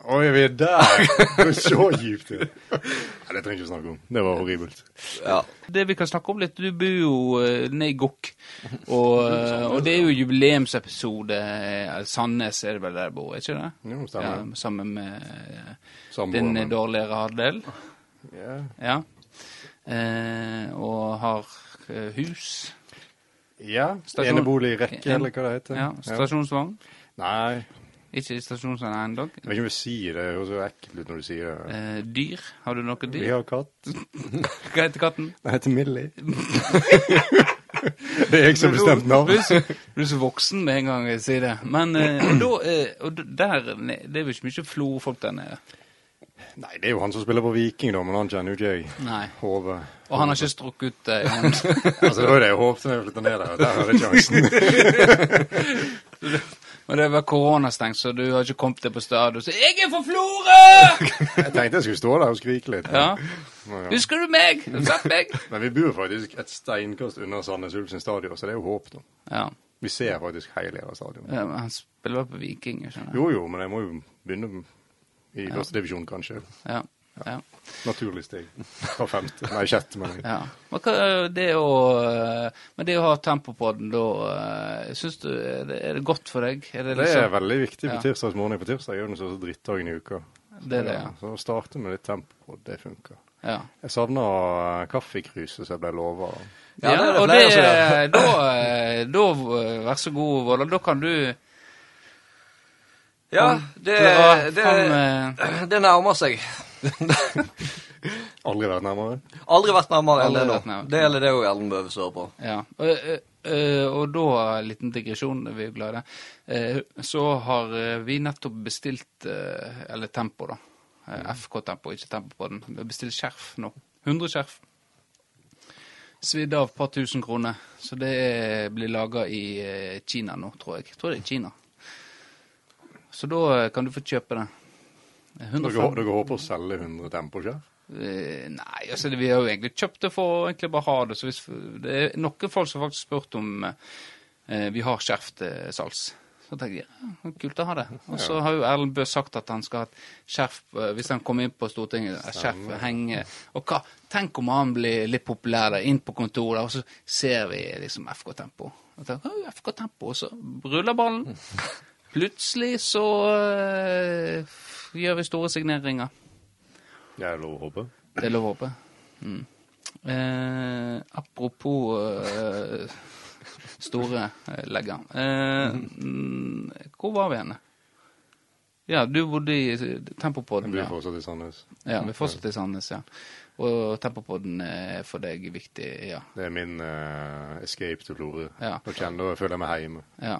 Speaker 3: Å Oi, vi er der! Det er så dypt. Ja. Nei, det trenger jeg ikke snakke om. Det var horribelt.
Speaker 2: Ja.
Speaker 1: Det vi kan snakke om litt, du bor jo eh, nede i Gokk, og, eh, og det er jo jubileumsepisode eh, Sandnes er det vel der jeg bor, er ikke det?
Speaker 3: Jo, stemmer.
Speaker 1: sammen med eh, din
Speaker 3: Samboeren min.
Speaker 1: dårligere halvdel.
Speaker 3: Ja.
Speaker 1: Ja. Eh, og har eh, hus.
Speaker 3: ja.
Speaker 1: Stasjon-
Speaker 3: Enebolig i rekke, eller hva det heter.
Speaker 1: Ja, stasjonsvogn.
Speaker 3: Nei, jeg
Speaker 1: Ikke stasjonsvogn ennå.
Speaker 3: vet ikke om jeg sier det. Det høres så ekkelt ut når du sier det.
Speaker 1: Eh, dyr. Har du noe
Speaker 3: Vi
Speaker 1: dyr?
Speaker 3: har katt.
Speaker 1: Hva heter katten?
Speaker 3: Den heter Millie. det er jeg som bestemte
Speaker 1: Du
Speaker 3: navn.
Speaker 1: er så- du er så voksen med en gang jeg sier det. Men eh, og da, eh, og d- der ne- Det er jo ikke mye flofolk der nede.
Speaker 3: Nei, det er jo han som spiller på Viking, da, men han kjenner jo ikke jeg.
Speaker 1: Nei.
Speaker 3: Hove.
Speaker 1: Og han har ikke strukket ut eh, hånd.
Speaker 3: Altså, det var jo det jeg håpte når jeg flytta ned der. og Der hadde jeg sjansen.
Speaker 1: Og det var koronastengt, så du har ikke kommet deg på stadion og sagt 'Jeg er fra Florø!'
Speaker 3: Jeg tenkte jeg skulle stå der og skrike litt.
Speaker 1: Ja.
Speaker 3: Men, ja.
Speaker 1: Husker du meg? Har du sett meg?
Speaker 3: men vi bor faktisk et steinkast unna Sandnes Ulf sin stadion, så det er jo håp, da.
Speaker 1: Ja.
Speaker 3: Vi ser faktisk hele Lera stadion.
Speaker 1: eh, Han spiller på Viking, jeg skjønner.
Speaker 3: Jo jo, men jeg må jo begynne i førstedivisjon, kanskje.
Speaker 1: Ja. ja.
Speaker 3: Naturlig steg. Fra femte. Nei, sjette, mener jeg.
Speaker 1: Ja. Men, hva, det å, eh, men det å ha tempo på den, da Syns du Er det- er det godt for deg? Er det,
Speaker 3: Det er
Speaker 1: liksom,
Speaker 3: veldig viktig på
Speaker 1: Ja.
Speaker 3: tirsdags morgen. På tirsdag er jo den største drittdagen i uka.
Speaker 1: Det er det, ja.
Speaker 3: Så å starte med litt tempo, og det funker.
Speaker 1: ja.
Speaker 3: Jeg savna kaffekruset som jeg ble lova.
Speaker 1: Ja,
Speaker 2: Ja, det er det
Speaker 1: og
Speaker 2: flere
Speaker 1: det,
Speaker 2: som gjør.
Speaker 1: da, eh, da, eh, vær så god, Våler, da kan du
Speaker 2: ja det,
Speaker 1: dra
Speaker 2: det,
Speaker 1: fram eh,
Speaker 2: det nærmer seg.
Speaker 3: Aldri vært nærmere.
Speaker 2: Aldri vært nærmere enn
Speaker 1: Aldri
Speaker 2: det nå.
Speaker 1: vært nærmere.
Speaker 2: Det gjelder det òg Ellenbø sør på.
Speaker 1: Ja. Og, eh, eh, og da, en liten digresjon, vi er glade. Eh, Så har eh, vi nettopp bestilt eh, Eller Tempo, da. Eh, FK-tempo, ikke Tempo på den. Vi har bestilt skjerf nå. 100 skjerf. Svidd av et par tusen kroner. Så det er- blir laga i eh, Kina nå, tror jeg. Jeg tror det er i Kina. Så da eh, kan du få kjøpe det. Eh,
Speaker 3: Dere,
Speaker 1: 150
Speaker 3: dere håper å selge 100 temposkjerf?
Speaker 1: Eh, nei, altså det, vi har jo egentlig kjøpt det for å egentlig bare ha det. Så hvis, det er noen folk som faktisk spurt om eh, vi har skjerf til salgs. Så tenkte jeg ja, kult å ha det. Og så har jo Erlend Bøe sagt at han skal ha et skjerf eh, hvis han kommer inn på Stortinget. Et skjerf henge. Og hva, tenk om han blir litt populær der, inn på kontoret, og så ser vi liksom FK Tempo. Og tenker, «Å, FK Tempo, og så ruller ballen. Plutselig så eh, f- gjør vi store signeringer.
Speaker 3: Jeg er lov å håpe.
Speaker 1: Det er lov å håpe. Mm. Eh, apropos eh, store eh, legger. Eh, mm, hvor var vi henne? Ja, du bodde i eh,
Speaker 3: Jeg
Speaker 1: Tempopodden.
Speaker 3: blir
Speaker 1: Ja.
Speaker 3: fortsatt i Sandnes.
Speaker 1: ja, vi fortsatte i Sandnes, ja. Og Tempopodden er for deg viktig, ja.
Speaker 3: Det er min eh, escape til Florø.
Speaker 1: Ja.
Speaker 3: Da kjenner jeg føler jeg meg hjemme.
Speaker 1: ja.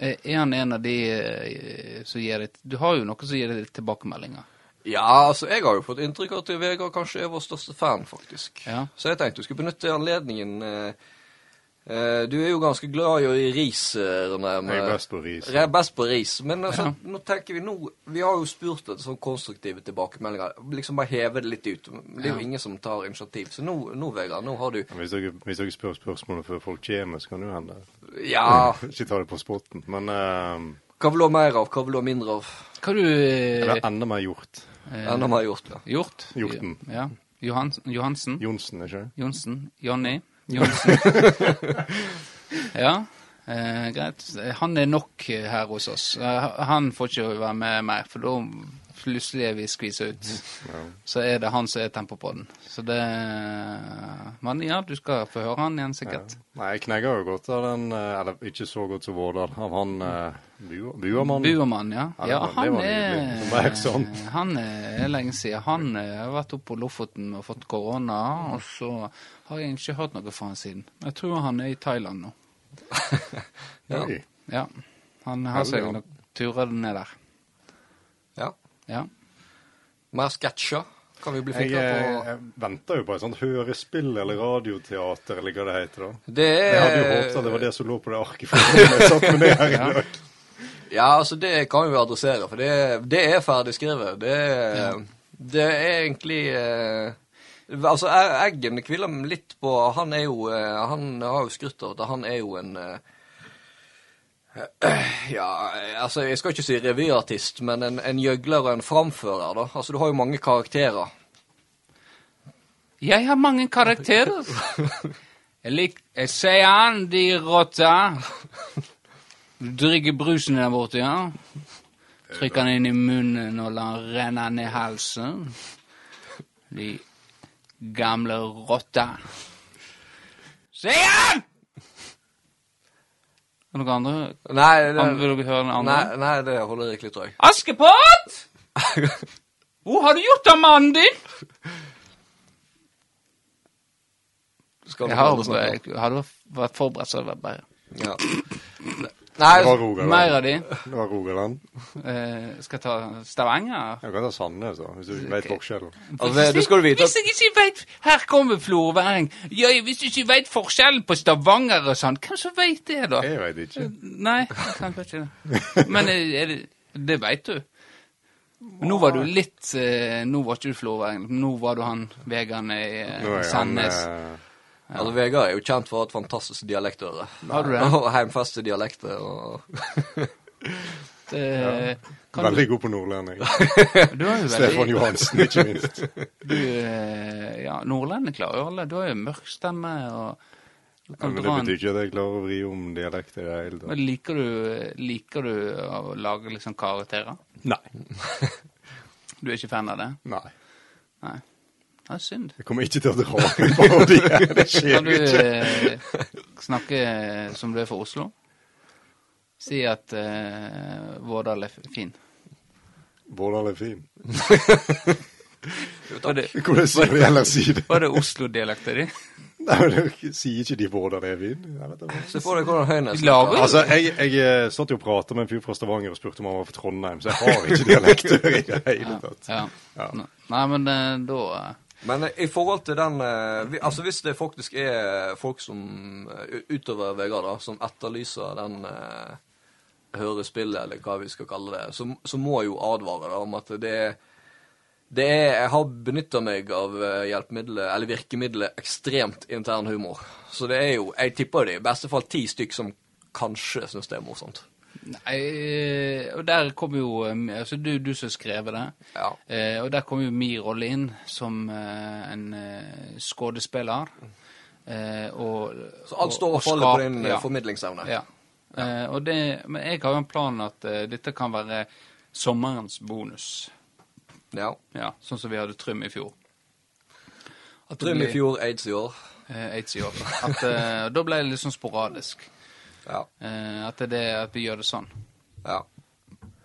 Speaker 1: Eh, Er han en av de eh, som gir deg Du har jo noe som gir deg tilbakemeldinger.
Speaker 2: Ja, altså, jeg har jo fått inntrykk av at Vegard kanskje er vår største fan, faktisk.
Speaker 1: Ja.
Speaker 2: Så jeg tenkte du skulle benytte anledningen. eh, eh, Du er jo ganske glad i i ris, eh, René. men-
Speaker 3: Jeg er best på ris.
Speaker 2: Jeg er best på ris. Men altså, nå tenker vi nå Vi har jo spurt etter sånn konstruktive tilbakemeldinger. Liksom bare heve det litt ut. Det er jo
Speaker 1: Ja.
Speaker 2: ingen som tar initiativ. Så nå, nå Vegard, nå har du
Speaker 3: Men Hvis dere, hvis dere spør spørsmålet før folk kommer, så kan det jo hende.
Speaker 2: Ja.
Speaker 3: Ikke ta det på spotten. Men eh,
Speaker 2: Hva vil du ha mer av? Hva vil du ha mindre av?
Speaker 1: Hva har du
Speaker 3: det er
Speaker 1: eh,
Speaker 3: enda mer gjort.
Speaker 2: Enda mer gjort, ja.
Speaker 1: gjort?
Speaker 3: Hjorten.
Speaker 1: Ja. Johans Johansen?
Speaker 3: Johnsen, ikke sant?
Speaker 1: Johnsen. Jonny. Johnsen. ja, eh, greit. Han er nok her hos oss. Eh, han får ikke være med mer, for da plutselig er vi skvisa ut. Så er det han som er tempopodden. Så det Men ja, du skal få høre han igjen, sikkert.
Speaker 3: Nei, jeg knegger jo godt av den eh, Eller ikke så godt som Vårdal. Av han eh, Bu- Buermann.
Speaker 1: Buermann, ja.
Speaker 3: Ja, det
Speaker 1: ja
Speaker 3: var- det
Speaker 1: han,
Speaker 3: var sånn.
Speaker 1: er, eh,
Speaker 3: nydelig. Oppmerksom.
Speaker 1: han er lenge siden. Han eh, har vært oppe på Lofoten og fått korona, og så har jeg ikke hørt noe fra han siden. Jeg tror han er i Thailand nå.
Speaker 2: Ja.
Speaker 3: Oi.
Speaker 1: Ja. Han har
Speaker 3: Heldig,
Speaker 1: seg
Speaker 3: han.
Speaker 1: nok turer ned der.
Speaker 2: ja.
Speaker 1: Ja.
Speaker 2: Mer sketsjer kan vi bli
Speaker 3: Jeg,
Speaker 2: flinkere
Speaker 3: eh,
Speaker 2: på.
Speaker 3: jeg venter jo på et sånt hørespill eller radioteater eller hva det heter da.
Speaker 2: Det
Speaker 1: Eh,
Speaker 2: er
Speaker 3: Jeg hadde jo håpet at det var det som lå på det arket for meg når jeg satt med det her i dag.
Speaker 2: Ja, altså det kan vi adressere, for det, det er ferdigskrevet. Det, er- det er egentlig eh, Altså, E- Eggen hviler litt på Han er jo eh, Han har jo skrytt av at han er jo en eh, Ja, altså jeg skal ikke si revyartist, men en, en gjøgler og en framfører, da. Altså du har jo mange karakterer.
Speaker 1: Jeg har mange karakterer. Jeg lik... Jeg sier an, de rotta. Du drikker brusen der borte, ja? Trykker den inn i munnen og lar den renne ned halsen. De gamle rotta. Sier han! Er det noen andre?
Speaker 2: Nei, det,
Speaker 1: Han vil dere høre den andre?
Speaker 2: nei, nei, det holder ikke litt drøy.
Speaker 1: Askepott! Hvor har du gjort av mannen din?
Speaker 2: Skal
Speaker 1: Jeg
Speaker 2: noen
Speaker 1: har,
Speaker 2: andre snakke om?
Speaker 1: jeg hadde vært forberedt, så hadde det vært bedre.
Speaker 2: Ja. Nei,
Speaker 3: Det var
Speaker 1: Mer
Speaker 3: Rogaland.
Speaker 1: av de.
Speaker 3: Det var Rogaland.
Speaker 1: Eh, skal jeg ta Stavanger?
Speaker 3: Jeg kan ta Sandnes, da, hvis du ikke
Speaker 1: Ok.
Speaker 3: vet forskjellen.
Speaker 2: altså, det skal du vite
Speaker 1: Hvis
Speaker 2: at
Speaker 1: jeg ikke vet, Her kommer florværing. Ja, hvis du ikke vet forskjellen på Stavanger og sånn, hvem som vet det, da?
Speaker 2: Eh.
Speaker 3: Jeg vet ikke.
Speaker 1: Nei, jeg kan ikke det. Men eh, er det, det veit du. Nå var du litt eh, Nå var ikke du florværing. Nå var du han vegan i eh,
Speaker 3: Nå er han
Speaker 1: Sandnes.
Speaker 3: eh,
Speaker 2: Altså, Vegard er jo kjent for å ha et fantastisk dialektøre.
Speaker 1: Har du det?
Speaker 2: Og heimfeste dialekter og
Speaker 1: Eh, kan du,
Speaker 3: veldig god på nordlending.
Speaker 1: du er jo
Speaker 3: Stefan
Speaker 1: veldig
Speaker 3: Johansen, ikke minst.
Speaker 1: du, eh, Ja, nordlendingen klarer jo alle. Du har jo mørk stemme og du
Speaker 3: Ja,
Speaker 1: kan
Speaker 3: men det
Speaker 1: dra en
Speaker 3: betyr ikke at jeg klarer å vri om dialekt i det hele tatt.
Speaker 1: Men liker du, liker du å lage liksom karakterer?
Speaker 3: Nei.
Speaker 1: Du er ikke fan av det?
Speaker 3: Nei.
Speaker 1: Nei. Det er synd.
Speaker 3: Jeg kommer ikke til å dra en parodi. Det
Speaker 1: Kan
Speaker 3: skjer
Speaker 1: du
Speaker 3: ikke.
Speaker 1: eh, snakke som du er fra Oslo? Si at eh, Vårdal er f- fin.
Speaker 3: Vårdal er fin.
Speaker 1: Var det,
Speaker 3: Hvordan skal de ellers si det?
Speaker 1: var det Oslo-dialekta di?
Speaker 3: Nei, men det- Sier ikke de Vårdal er fin? Jeg vet ikke.
Speaker 2: Se for deg hvordan Høynes
Speaker 1: Vi lager jo
Speaker 3: Altså, jeg, jeg eh, satt jo og pratet med en fyr fra Stavanger og spurte om han var fra Trondheim, så jeg har ikke dialektør i det hele tatt.
Speaker 1: ja. Nei, men eh, da eh,
Speaker 2: Men eh, i forhold til den eh, vi, Altså hvis det faktisk er folk som eh, u- utover Vegard, da, som etterlyser den eh, hørespillet, eller hva vi skal kalle det, så, så må jeg jo advare da, om at det er det er, Jeg har benytta meg av eh, hjelpemiddelet, eller virkemiddelet, ekstremt intern humor. Så det er jo Jeg tipper det er i beste fall ti stykk som kanskje syns det er morsomt.
Speaker 1: Nei, eh, og der kom jo eh, altså du, du som skrev det.
Speaker 2: Ja.
Speaker 1: Eh, og der kom jo min rolle inn som eh, en eh, skuespiller. Eh, og,
Speaker 2: Så alt står og faller på din eh, formidlingsevne.
Speaker 1: Ja. Eh, og det, men jeg har jo en plan at eh, dette kan være sommerens bonus.
Speaker 2: Ja.
Speaker 1: Ja, Sånn som vi hadde Trym i fjor. At det
Speaker 2: Trym i
Speaker 1: blir,
Speaker 2: fjor, aids i år.
Speaker 1: Eh, AIDS i år. At, eh, da ble det litt sånn sporadisk.
Speaker 2: Ja.
Speaker 1: Eh, at, det, at vi gjør det sånn.
Speaker 2: ja.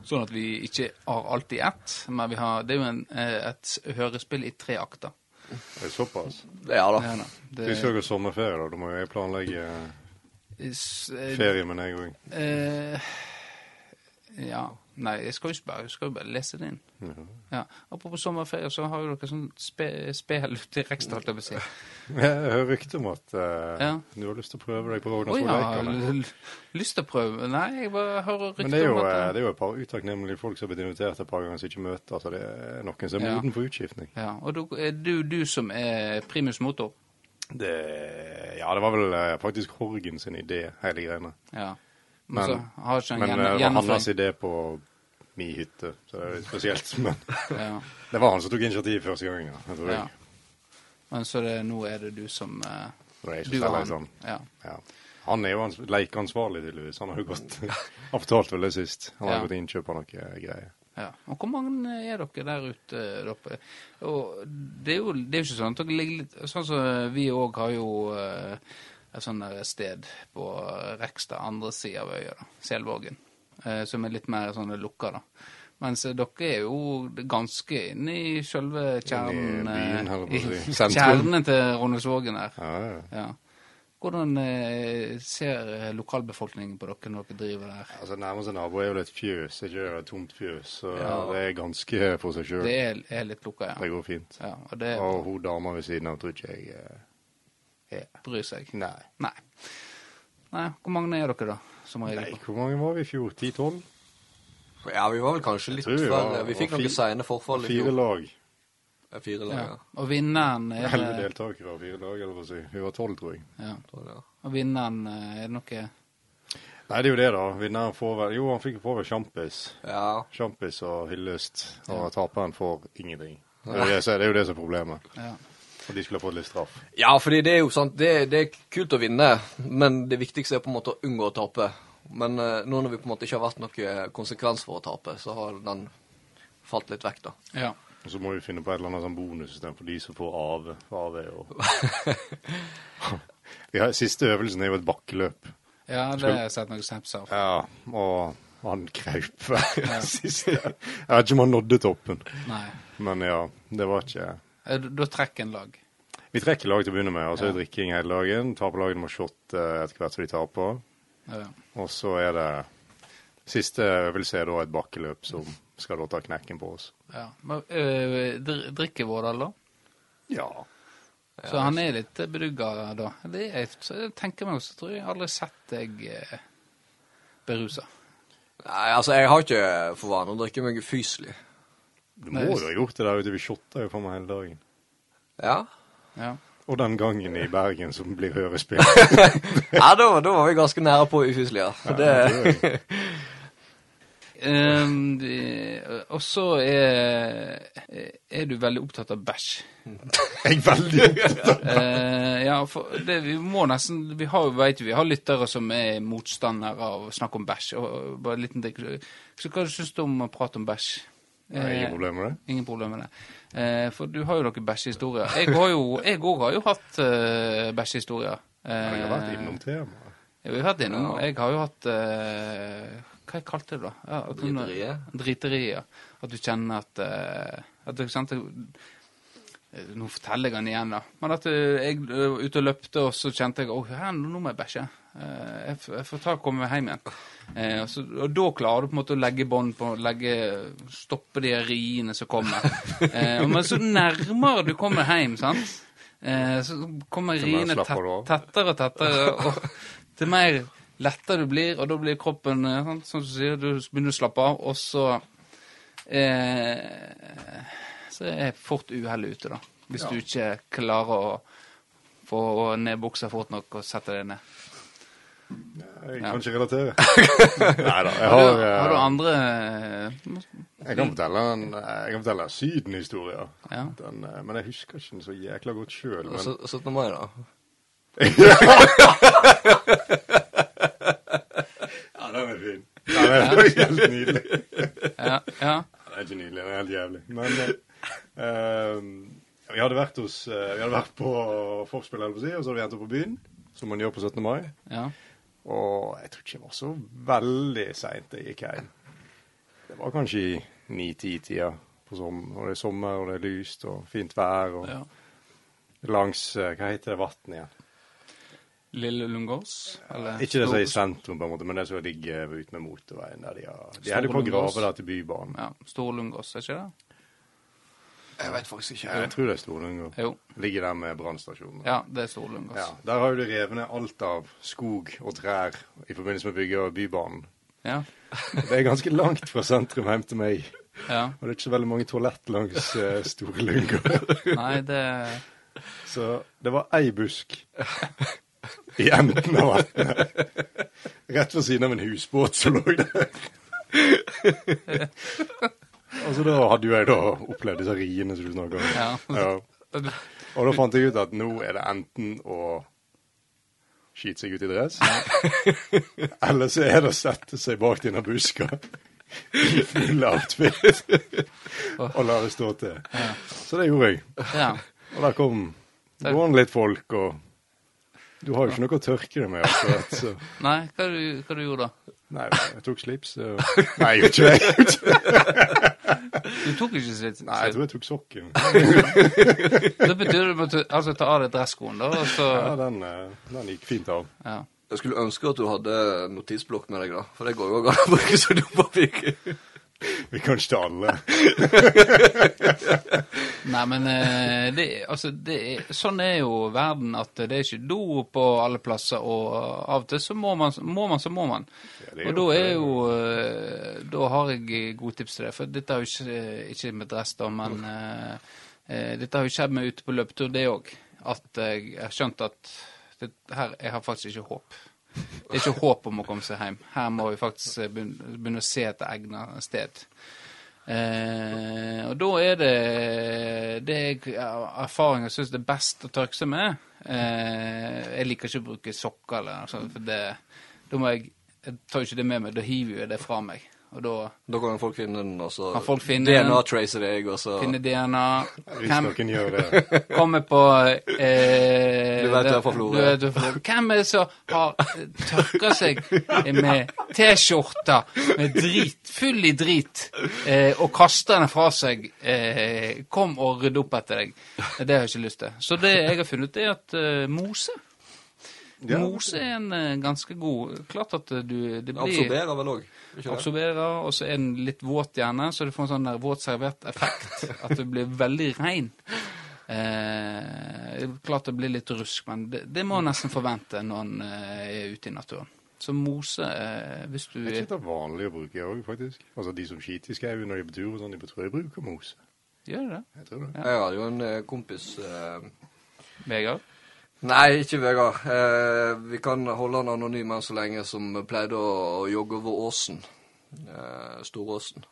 Speaker 1: Sånn at vi ikke har alt i ett, men vi har, det er jo en, eh, et hørespill i tre akter.
Speaker 3: Det er såpass.
Speaker 2: Ja
Speaker 3: Ah,
Speaker 2: da.
Speaker 1: Ja, da.
Speaker 3: Du
Speaker 1: Det-
Speaker 3: skal jo ha sommerferie, da. Da må jo jeg planlegge eh,
Speaker 1: s- eh,
Speaker 3: ferie med deg òg.
Speaker 1: eh, ja. Nei, jeg skal jo ikke bare, jeg skal jo bare lese det inn. Ja. Apropos sommerferie, så har jo dere sånn spe, spel ute i Rekstad, holdt jeg på å si.
Speaker 3: Jeg hører rykte om at eh,
Speaker 1: Ja.
Speaker 3: du har lyst til å prøve deg på
Speaker 1: Å ja,
Speaker 3: Rognarsvollleikane.
Speaker 1: l- lyst til å prøve Nei, jeg bare hører
Speaker 3: Men det
Speaker 1: rykter
Speaker 3: er, jo,
Speaker 1: om
Speaker 3: eh,
Speaker 1: at
Speaker 3: det er jo et par utakknemlige folk som har blitt invitert et par ganger som ikke møter. Så det er noen som er
Speaker 1: Ja.
Speaker 3: moden for utskiftning.
Speaker 1: ja, Og du, er du, du som er primus motor.
Speaker 3: Det, ja, det var vel eh, faktisk Horgen sin idé, hele greiene.
Speaker 1: Ja. Men,
Speaker 3: Men-
Speaker 1: så har ikke
Speaker 3: Men
Speaker 1: han
Speaker 3: eh,
Speaker 1: gjennom-
Speaker 3: det var hans
Speaker 1: gjennomføring.
Speaker 3: idé på min hytte, så det er litt spesielt. Men
Speaker 1: Ja.
Speaker 3: det var han som tok initiativ første gangen. Ja. Jeg tror
Speaker 1: Ja.
Speaker 3: jeg.
Speaker 1: Men så det, nå er det du som eh,
Speaker 3: Det var jeg som
Speaker 1: Du og
Speaker 3: selger
Speaker 1: han.
Speaker 3: sånn.
Speaker 1: Ja.
Speaker 3: Ja. Han er jo ans lekeansvarlig, tydeligvis. Han har jo gått Han fortalte vel det sist. Han har
Speaker 1: Ja.
Speaker 3: gått og innkjøpt noe greier.
Speaker 1: ja. Og hvor mange er dere der ute? der oppe? Og det er jo, det er jo ikke sånn at dere ligger litt Sånn som vi òg har jo eh, et sånt der sted på Rekstad, andre sida av øya, da, Selvågen, eh, som er litt mer sånn lukka, da. Mens eh, dere er jo ganske inne i sjølve kjernen
Speaker 3: byen,
Speaker 1: eh,
Speaker 3: holdt jeg på å
Speaker 1: i
Speaker 3: si. Sentrum.
Speaker 1: Kjernen til Rondesvågen her.
Speaker 3: Ja, ja.
Speaker 1: Ja. Hvordan eh, ser eh, lokalbefolkningen på dere når dere driver der?
Speaker 3: Altså, Nærmeste nabo er jo et fjøs, ikke det? et tomt fjøs. Så
Speaker 1: Ja.
Speaker 3: det er ganske for seg sjøl.
Speaker 1: Det
Speaker 3: Det,
Speaker 1: er, er litt lukka, ja.
Speaker 3: går fint.
Speaker 1: ja. Og det
Speaker 3: Og hun dama ved siden av tror ikke jeg eh,
Speaker 1: bryr seg.
Speaker 3: Nei.
Speaker 1: Nei. Nei. Hvor mange er dere, da? Som
Speaker 3: Nei,
Speaker 1: regel?
Speaker 3: Hvor mange var vi i fjor? 10-12?
Speaker 2: Ja, vi var vel kanskje litt
Speaker 3: tror vi var-
Speaker 2: færre. Vi fikk
Speaker 3: var
Speaker 2: noen
Speaker 3: fi-
Speaker 2: seine forfall i
Speaker 3: Fire
Speaker 2: fjor.
Speaker 3: lag.
Speaker 2: Eh, Fire lag,
Speaker 1: Ja.
Speaker 2: ja.
Speaker 1: Og vinneren er
Speaker 3: Elleve
Speaker 1: det
Speaker 3: deltakere og fire lag, eller hva skal jeg si. Vi var tolv, tror jeg.
Speaker 1: ja.
Speaker 2: Tror det, ja.
Speaker 1: Og vinneren eh, er det noe
Speaker 3: Nei, det er jo det, da. Vinneren får vel Jo, han fikk jo på vel sjampis.
Speaker 2: Ja.
Speaker 3: Sjampis og hyllest. Og taperen får ingenting. Det er jo det, som- det er jo det som er problemet.
Speaker 1: Ja.
Speaker 3: At de skulle ha fått litt straff.
Speaker 2: ja, fordi det er jo sant, det, det er kult å vinne, men det viktigste er på en måte å unngå å tape. Men eh, nå når vi på en måte ikke har vært noen konsekvens for å tape, så har den falt litt vekk, da.
Speaker 1: ja.
Speaker 3: Og så må vi finne på et eller annet sånn bonussystem for de som får AV. For AV er jo Vi har- Siste øvelsen er jo et bakkeløp.
Speaker 1: Ja, det har jeg sett noen snaps av.
Speaker 3: Ja, og han kraup hver siste. Jeg vet ikke om han nådde toppen,
Speaker 1: Nei.
Speaker 3: men ja. Det var ikke
Speaker 1: Eh, Da da trekker en lag.
Speaker 3: Vi trekker lag til å begynne med, og så er det drikking hele dagen. Taperlagene må shotte eh, etter hvert som de taper.
Speaker 1: Ja.
Speaker 3: Og så er det Siste øvelse er da et bakkeløp som skal da ta knekken på oss.
Speaker 1: Ja. Men øh, dr- drikker Vårdal, da?
Speaker 3: Ja.
Speaker 1: Så han er litt bedugga da? Det er, så jeg tenker meg også, tror jeg aldri har sett deg eh, berusa.
Speaker 2: Nei, altså, jeg har ikke for vane å drikke meg ufyselig.
Speaker 3: Du må jo ha gjort det der ute. Vi shotta jo for meg hele dagen.
Speaker 2: Ja.
Speaker 1: Ja.
Speaker 3: Og den gangen i Bergen som blir hørespill.
Speaker 2: ja, da, da var vi ganske nære på ufyselig, ja. Det,
Speaker 1: Ehm, de- og så er, er du veldig opptatt av bæsj.
Speaker 3: Jeg er veldig opptatt av
Speaker 1: Eh, ja, for det, vi må nesten Vi har jo, vet jo, vi har lyttere som er motstandere av å snakke om bæsj. og bare en liten dik- Så hva syns du om å prate om bæsj?
Speaker 3: Jeg har
Speaker 1: Eh,
Speaker 3: ingen problemer med det.
Speaker 1: Ingen problem med det. Eh, for du har jo noen bæsjehistorier. Jeg har jo- jeg òg har jo hatt eh, bæsjehistorier. Eh,
Speaker 3: Jeg har vært innom temaet.
Speaker 1: Ja, vi har vært innom. Jeg har jo hatt eh, Hva jeg kalte jeg det, da? Ja, at hun-
Speaker 2: Driteriet?
Speaker 1: Driteriet, ja. At du kjenner at, eh, at du, sant, det- eh, Nå forteller jeg den igjen, da. Men at eh, jeg eh, var ute og løpte, og så kjente jeg at her, nå må jeg bæsje. Eh, Jeg, f- jeg får ta og komme meg hjem igjen. Eh, og, så, og da klarer du på en måte å legge bånd på legge, Stoppe de riene som kommer. Eh, og men så nærmere du kommer hjem, sant eh, Så kommer
Speaker 3: Så mer
Speaker 1: riene tett,
Speaker 3: slapper du av.
Speaker 1: tettere og tettere, og til mer lettere du blir, og da blir kroppen eh, sånn som du sier, du begynner å slappe av, og så eh, Så er fort uhellet ute, da. Hvis du ikke klarer å få ned buksa fort nok og sette deg ned.
Speaker 3: Jeg
Speaker 1: Ja.
Speaker 3: kan ikke relatere. Nei da.
Speaker 1: Har
Speaker 3: Jeg har,
Speaker 1: du, har du
Speaker 3: eh,
Speaker 1: andre eh,
Speaker 3: jeg kan fortelle en, jeg kan fortelle en Syden-historie.
Speaker 1: Ja.
Speaker 3: Den, eh, Men jeg husker ikke den så jækla godt sjøl.
Speaker 2: Og så- 17. mai, da.
Speaker 3: Ja, den er fin. Den er helt nydelig.
Speaker 1: Ja. ja.
Speaker 3: Den er ikke nydelig, den er helt jævlig. Men eh, eh, vi hadde vært hos eh, Vi hadde vært på forspill, holdt jeg på å si, og så hadde vi hentet på byen, som man gjør på 17. mai.
Speaker 1: ja.
Speaker 3: Og jeg tror ikke det var så veldig seint jeg gikk hjem. Det var kanskje i ni-ti-tida. Og det er sommer, og det er lyst, og fint vær. Og
Speaker 1: ja.
Speaker 3: langs eh, Hva heter det vannet igjen?
Speaker 1: Lille Lungås? Eller
Speaker 3: Ikke det som er i
Speaker 1: Stor-
Speaker 3: sentrum, på en måte, men det som ligger ute med motorveien. der De har De
Speaker 1: Store
Speaker 3: holder på å
Speaker 1: Lungås.
Speaker 3: grave der til Bybanen.
Speaker 1: Ja. Stor Lungås, er ikke det?
Speaker 2: Jeg veit faktisk ikke.
Speaker 3: Jeg tror det er Storlungås.
Speaker 1: Jo.
Speaker 3: Ligger der med brannstasjonen.
Speaker 1: Ja, det er Stor Lungås.
Speaker 3: Ja, Der har jo de revet ned alt av skog og trær i forbindelse med bygging av Bybanen.
Speaker 1: Ja.
Speaker 3: Det er ganske langt fra sentrum hjem til meg.
Speaker 1: ja.
Speaker 3: Og det er ikke så veldig mange toalett langs eh, Store Lungård.
Speaker 1: Nei, det
Speaker 3: Så det var ei busk i enden av vannet. Rett ved siden av en husbåt som lå der. Altså da hadde jo jeg da opplevd disse riene som du snakker om. Ja. Og da fant jeg ut at nå er det enten å skyte seg ut i dress, eller så er det å sette seg bak denne buska i full outfit og la det stå til. Så det gjorde jeg.
Speaker 1: Ja.
Speaker 3: Og der kom gående litt folk, og du har jo ikke noe å tørke det med. akkurat, så...
Speaker 1: Nei, hva du, hva du gjorde da?
Speaker 3: Nei, jeg tok slips. Og... Nei, jeg gjorde ikke det.
Speaker 1: Du tok ikke slitt?
Speaker 3: Nei, jeg tror jeg tok sokken.
Speaker 1: Det betyr du måtte altså, ta av deg dresskoen, da, og så
Speaker 3: Ja, den, eh, den gikk fint av.
Speaker 1: Ja.
Speaker 2: Jeg skulle ønske at du hadde notisblokk med deg, da. For det går jo an å bruke som dopapir.
Speaker 3: Vi kan ikke ta alle.
Speaker 1: Nei, men eh, det, altså, det er, sånn er jo verden, at det er ikke do på alle plasser, og av og til så må man, må man så må man.
Speaker 3: Ja, det er
Speaker 1: og da
Speaker 3: jo-
Speaker 1: er jo eh, Da har jeg gode tips til deg, for dette har jo ikke, ikke med dress, da, men eh, eh, Dette har jo skjedd meg ute på løpetur, det òg. At jeg har skjønt at det, her, jeg har faktisk ikke håp. Det er ikke håp om å komme seg hjem. Her må vi faktisk eh, begyn- begynne å se etter egnet sted. Eh, og da er det det jeg av erfaring syns det er best å tørke seg med. Eh, jeg liker ikke å bruke sokker eller noe sånt, for det, da må jeg Jeg tar jo ikke det med meg, da hiver jeg det fra meg. Og da
Speaker 2: Da kan folk finne den, og så
Speaker 1: Kan folk finne den?
Speaker 2: DNA-trace deg, og så
Speaker 1: finner DNA.
Speaker 3: Hvis
Speaker 1: Hvem,
Speaker 3: noen gjør det.
Speaker 1: Kommer på eh,
Speaker 2: Du vet du er fra
Speaker 1: du
Speaker 2: Florø.
Speaker 1: vet du er fra Florø. Hvem er det som har tørka seg med T-skjorta med drit, full i drit, eh, og kaster den fra seg? Eh, kom og rydd opp etter deg. Det har jeg ikke lyst til. Så det jeg har funnet, ut er at eh, mose
Speaker 3: Ja.
Speaker 1: Mose er en eh, ganske god Klart at eh, du det blir,
Speaker 2: absorberer vel òg. Ikke det?
Speaker 1: absorberer, og så er den litt våt gjerne, så du får en sånn der våt servert effekt. At du blir veldig rein. Eh, klart det blir litt rusk, men det, det må en nesten forvente når en eh, er ute i naturen. Så mose eh, hvis du
Speaker 3: Det er ikke det vanlig å bruke òg, faktisk. Altså de som skiter i skauen når de er på tur og sånn, de tror jeg bruker mos.
Speaker 1: Gjør du det?
Speaker 3: Jeg tror det.
Speaker 1: Ja.
Speaker 2: Jeg hadde jo en eh, kompis eh,
Speaker 1: Vegard?
Speaker 2: Nei, ikke Vegard. Eh, vi kan holde han anonym enn så lenge, som pleide å, å jogge over åsen. Eh, Storåsen.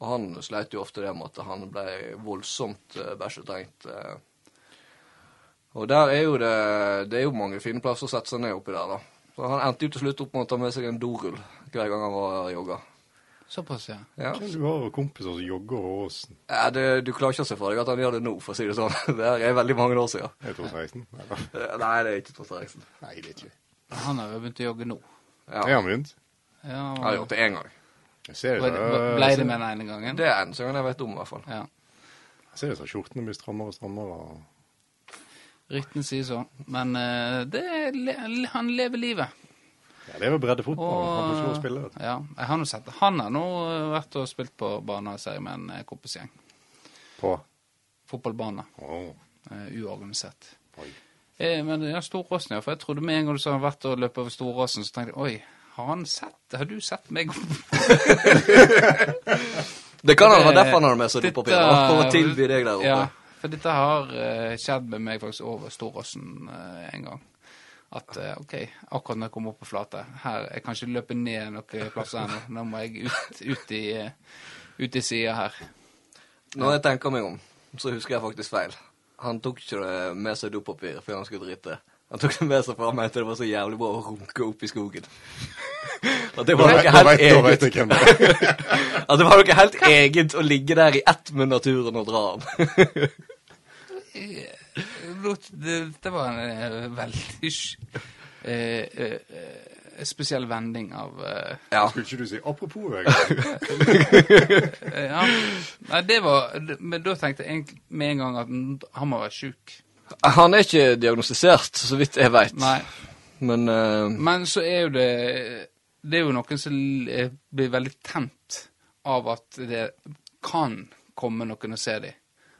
Speaker 2: Og han sleit jo ofte det med at han ble voldsomt eh, bæsjetrengt. Eh. Og der er jo det Det er jo mange fine plasser å sette seg ned oppi der, da. Så han endte jo til slutt opp med å ta med seg en dorull hver gang han var og jogga.
Speaker 1: Såpass, ja.
Speaker 2: Ja.
Speaker 3: Hvem du har kompiser som jogger over åsen?
Speaker 2: Ja, det, du klarer ikke å se for deg at han gjør det nå, for å si det sånn. Det her er veldig mange år siden.
Speaker 3: Jeg tror 16. Eller?
Speaker 2: Eh, Nei, det er ikke Trond Eriksen.
Speaker 3: Nei, det er ikke det.
Speaker 1: Han har jo begynt å jogge nå.
Speaker 2: Ja,
Speaker 3: Jeg
Speaker 2: jeg
Speaker 3: har begynt.
Speaker 1: Ja,
Speaker 2: har gjort det én gang.
Speaker 3: Jeg ser
Speaker 1: var
Speaker 3: det,
Speaker 1: det-
Speaker 3: så-
Speaker 1: Ble det med den ene gangen?
Speaker 2: Det er den som jeg vet om, i hvert fall.
Speaker 1: Ja.
Speaker 3: jeg ser det så skjortene blir strammere og strammere. og-
Speaker 1: Ryktene sier sånn. Men eh, det, er le- han lever livet.
Speaker 3: Ja, det er jo breddefotball. Han får ikke lov å spille. vet du.
Speaker 1: ja, jeg har nå sett det. Han har nå eh, vært og spilt på barnehageserie med en eh, kompisgjeng.
Speaker 3: På.
Speaker 1: Fotballbane.
Speaker 3: Åh,
Speaker 1: eh, uorganisert.
Speaker 3: oi.
Speaker 1: Eh, men ja, Storåsen, ja. For jeg trodde med en gang du sa han har vært og løpt over Storåsen, så tenkte jeg oi, har han sett Har du sett meg?
Speaker 2: Det kan ha vært derfor han hadde med seg dopapirer. For å tilby deg der oppe.
Speaker 1: Ja, for dette har eh, skjedd med meg faktisk over Storåsen eh, en gang. At eh, OK, akkurat når jeg kommer opp på flate her, Jeg kan ikke løpe ned noen plasser ennå. Nå må jeg ut, ut i, eh, ut i sida her.
Speaker 2: Når jeg tenker meg om, så husker jeg faktisk feil. Han tok ikke det med seg dopapir før han skulle drite. Han tok det med seg for han mente det var så jævlig bra å runke opp i skogen. At det
Speaker 3: Da
Speaker 2: var
Speaker 3: vet-
Speaker 2: noe helt
Speaker 3: da vet- da vet
Speaker 2: eget.
Speaker 3: jeg hvem det er.
Speaker 2: At det var noe helt eget å ligge der i ett med naturen og dra den.
Speaker 1: Eh, Lot- Det, det var en eh, veldig sj- eh, eh, eh, spesiell vending av eh,
Speaker 2: Ja.
Speaker 3: Skulle ikke du si apropos, Vegard?
Speaker 1: eh, Ja. Nei, det var det- Men da tenkte jeg egentlig med en gang at n- han må være sjuk.
Speaker 2: Han er ikke diagnostisert, så vidt jeg veit.
Speaker 1: Nei.
Speaker 2: Men eh,
Speaker 1: Men så er jo det Det er jo noen som l- eh, blir veldig tent av at det kan komme noen og se dem.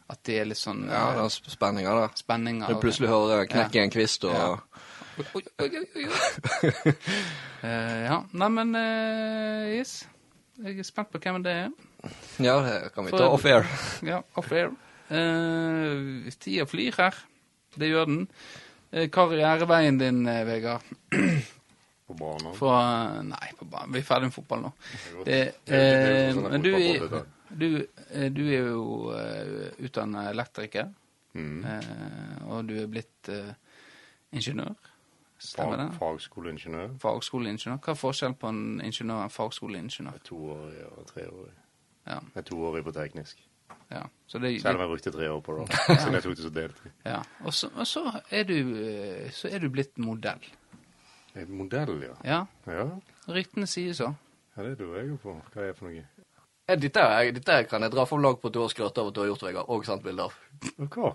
Speaker 1: At de er litt sånn
Speaker 2: ja,
Speaker 1: eh,
Speaker 2: det er sp- spenninga, da.
Speaker 1: spenninger.
Speaker 2: Du
Speaker 1: av det.
Speaker 2: plutselig hører knekk i en kvist og
Speaker 1: Ja. Oi, oi, oi, oi, oi. Eh, ja. Nei, men eh, yes. Jeg er spent på hvem det er.
Speaker 2: Ja, det kan vi
Speaker 1: For-
Speaker 2: ta off air.
Speaker 1: Ja, off air. Eh, tida flyr her. Det gjør den. Eh, karriereveien din, eh, Vegard
Speaker 3: På banen.
Speaker 1: Fra Nei, på banen. vi er ferdig med fotball nå.
Speaker 3: Det
Speaker 1: Det,
Speaker 3: er godt. Det er
Speaker 1: eh,
Speaker 3: jo sånn
Speaker 1: men
Speaker 3: at
Speaker 1: du,
Speaker 3: fotball holder
Speaker 1: du, eh, du er jo uh, utdanna elektriker,
Speaker 3: Mm.
Speaker 1: eh, og du er blitt eh, ingeniør. Stemmer det?
Speaker 3: Fag, fagskoleingeniør.
Speaker 1: Fagskoleingeniør. Hva er forskjellen på en ingeniør og en fagskoleingeniør?
Speaker 3: Toårig og treårig.
Speaker 1: Ja,
Speaker 3: Jeg er toårig på teknisk.
Speaker 1: ja. Så det,
Speaker 3: Selv om jeg brukte tre år på det. da. Siden jeg tok det så deltid.
Speaker 1: ja. Og, så, og så, er du, eh, så er du blitt modell.
Speaker 3: Eh, Modell, ja.
Speaker 1: Ja,
Speaker 3: Ja,
Speaker 1: ryktene sier så.
Speaker 3: ja det lurer jeg jo på. Hva er det for noe?
Speaker 2: Eh, Dette, er- dette er- kan jeg dra for lag på at du har skrøt av at du har gjort, Vegard, og sendt bilde av.
Speaker 3: Og hva?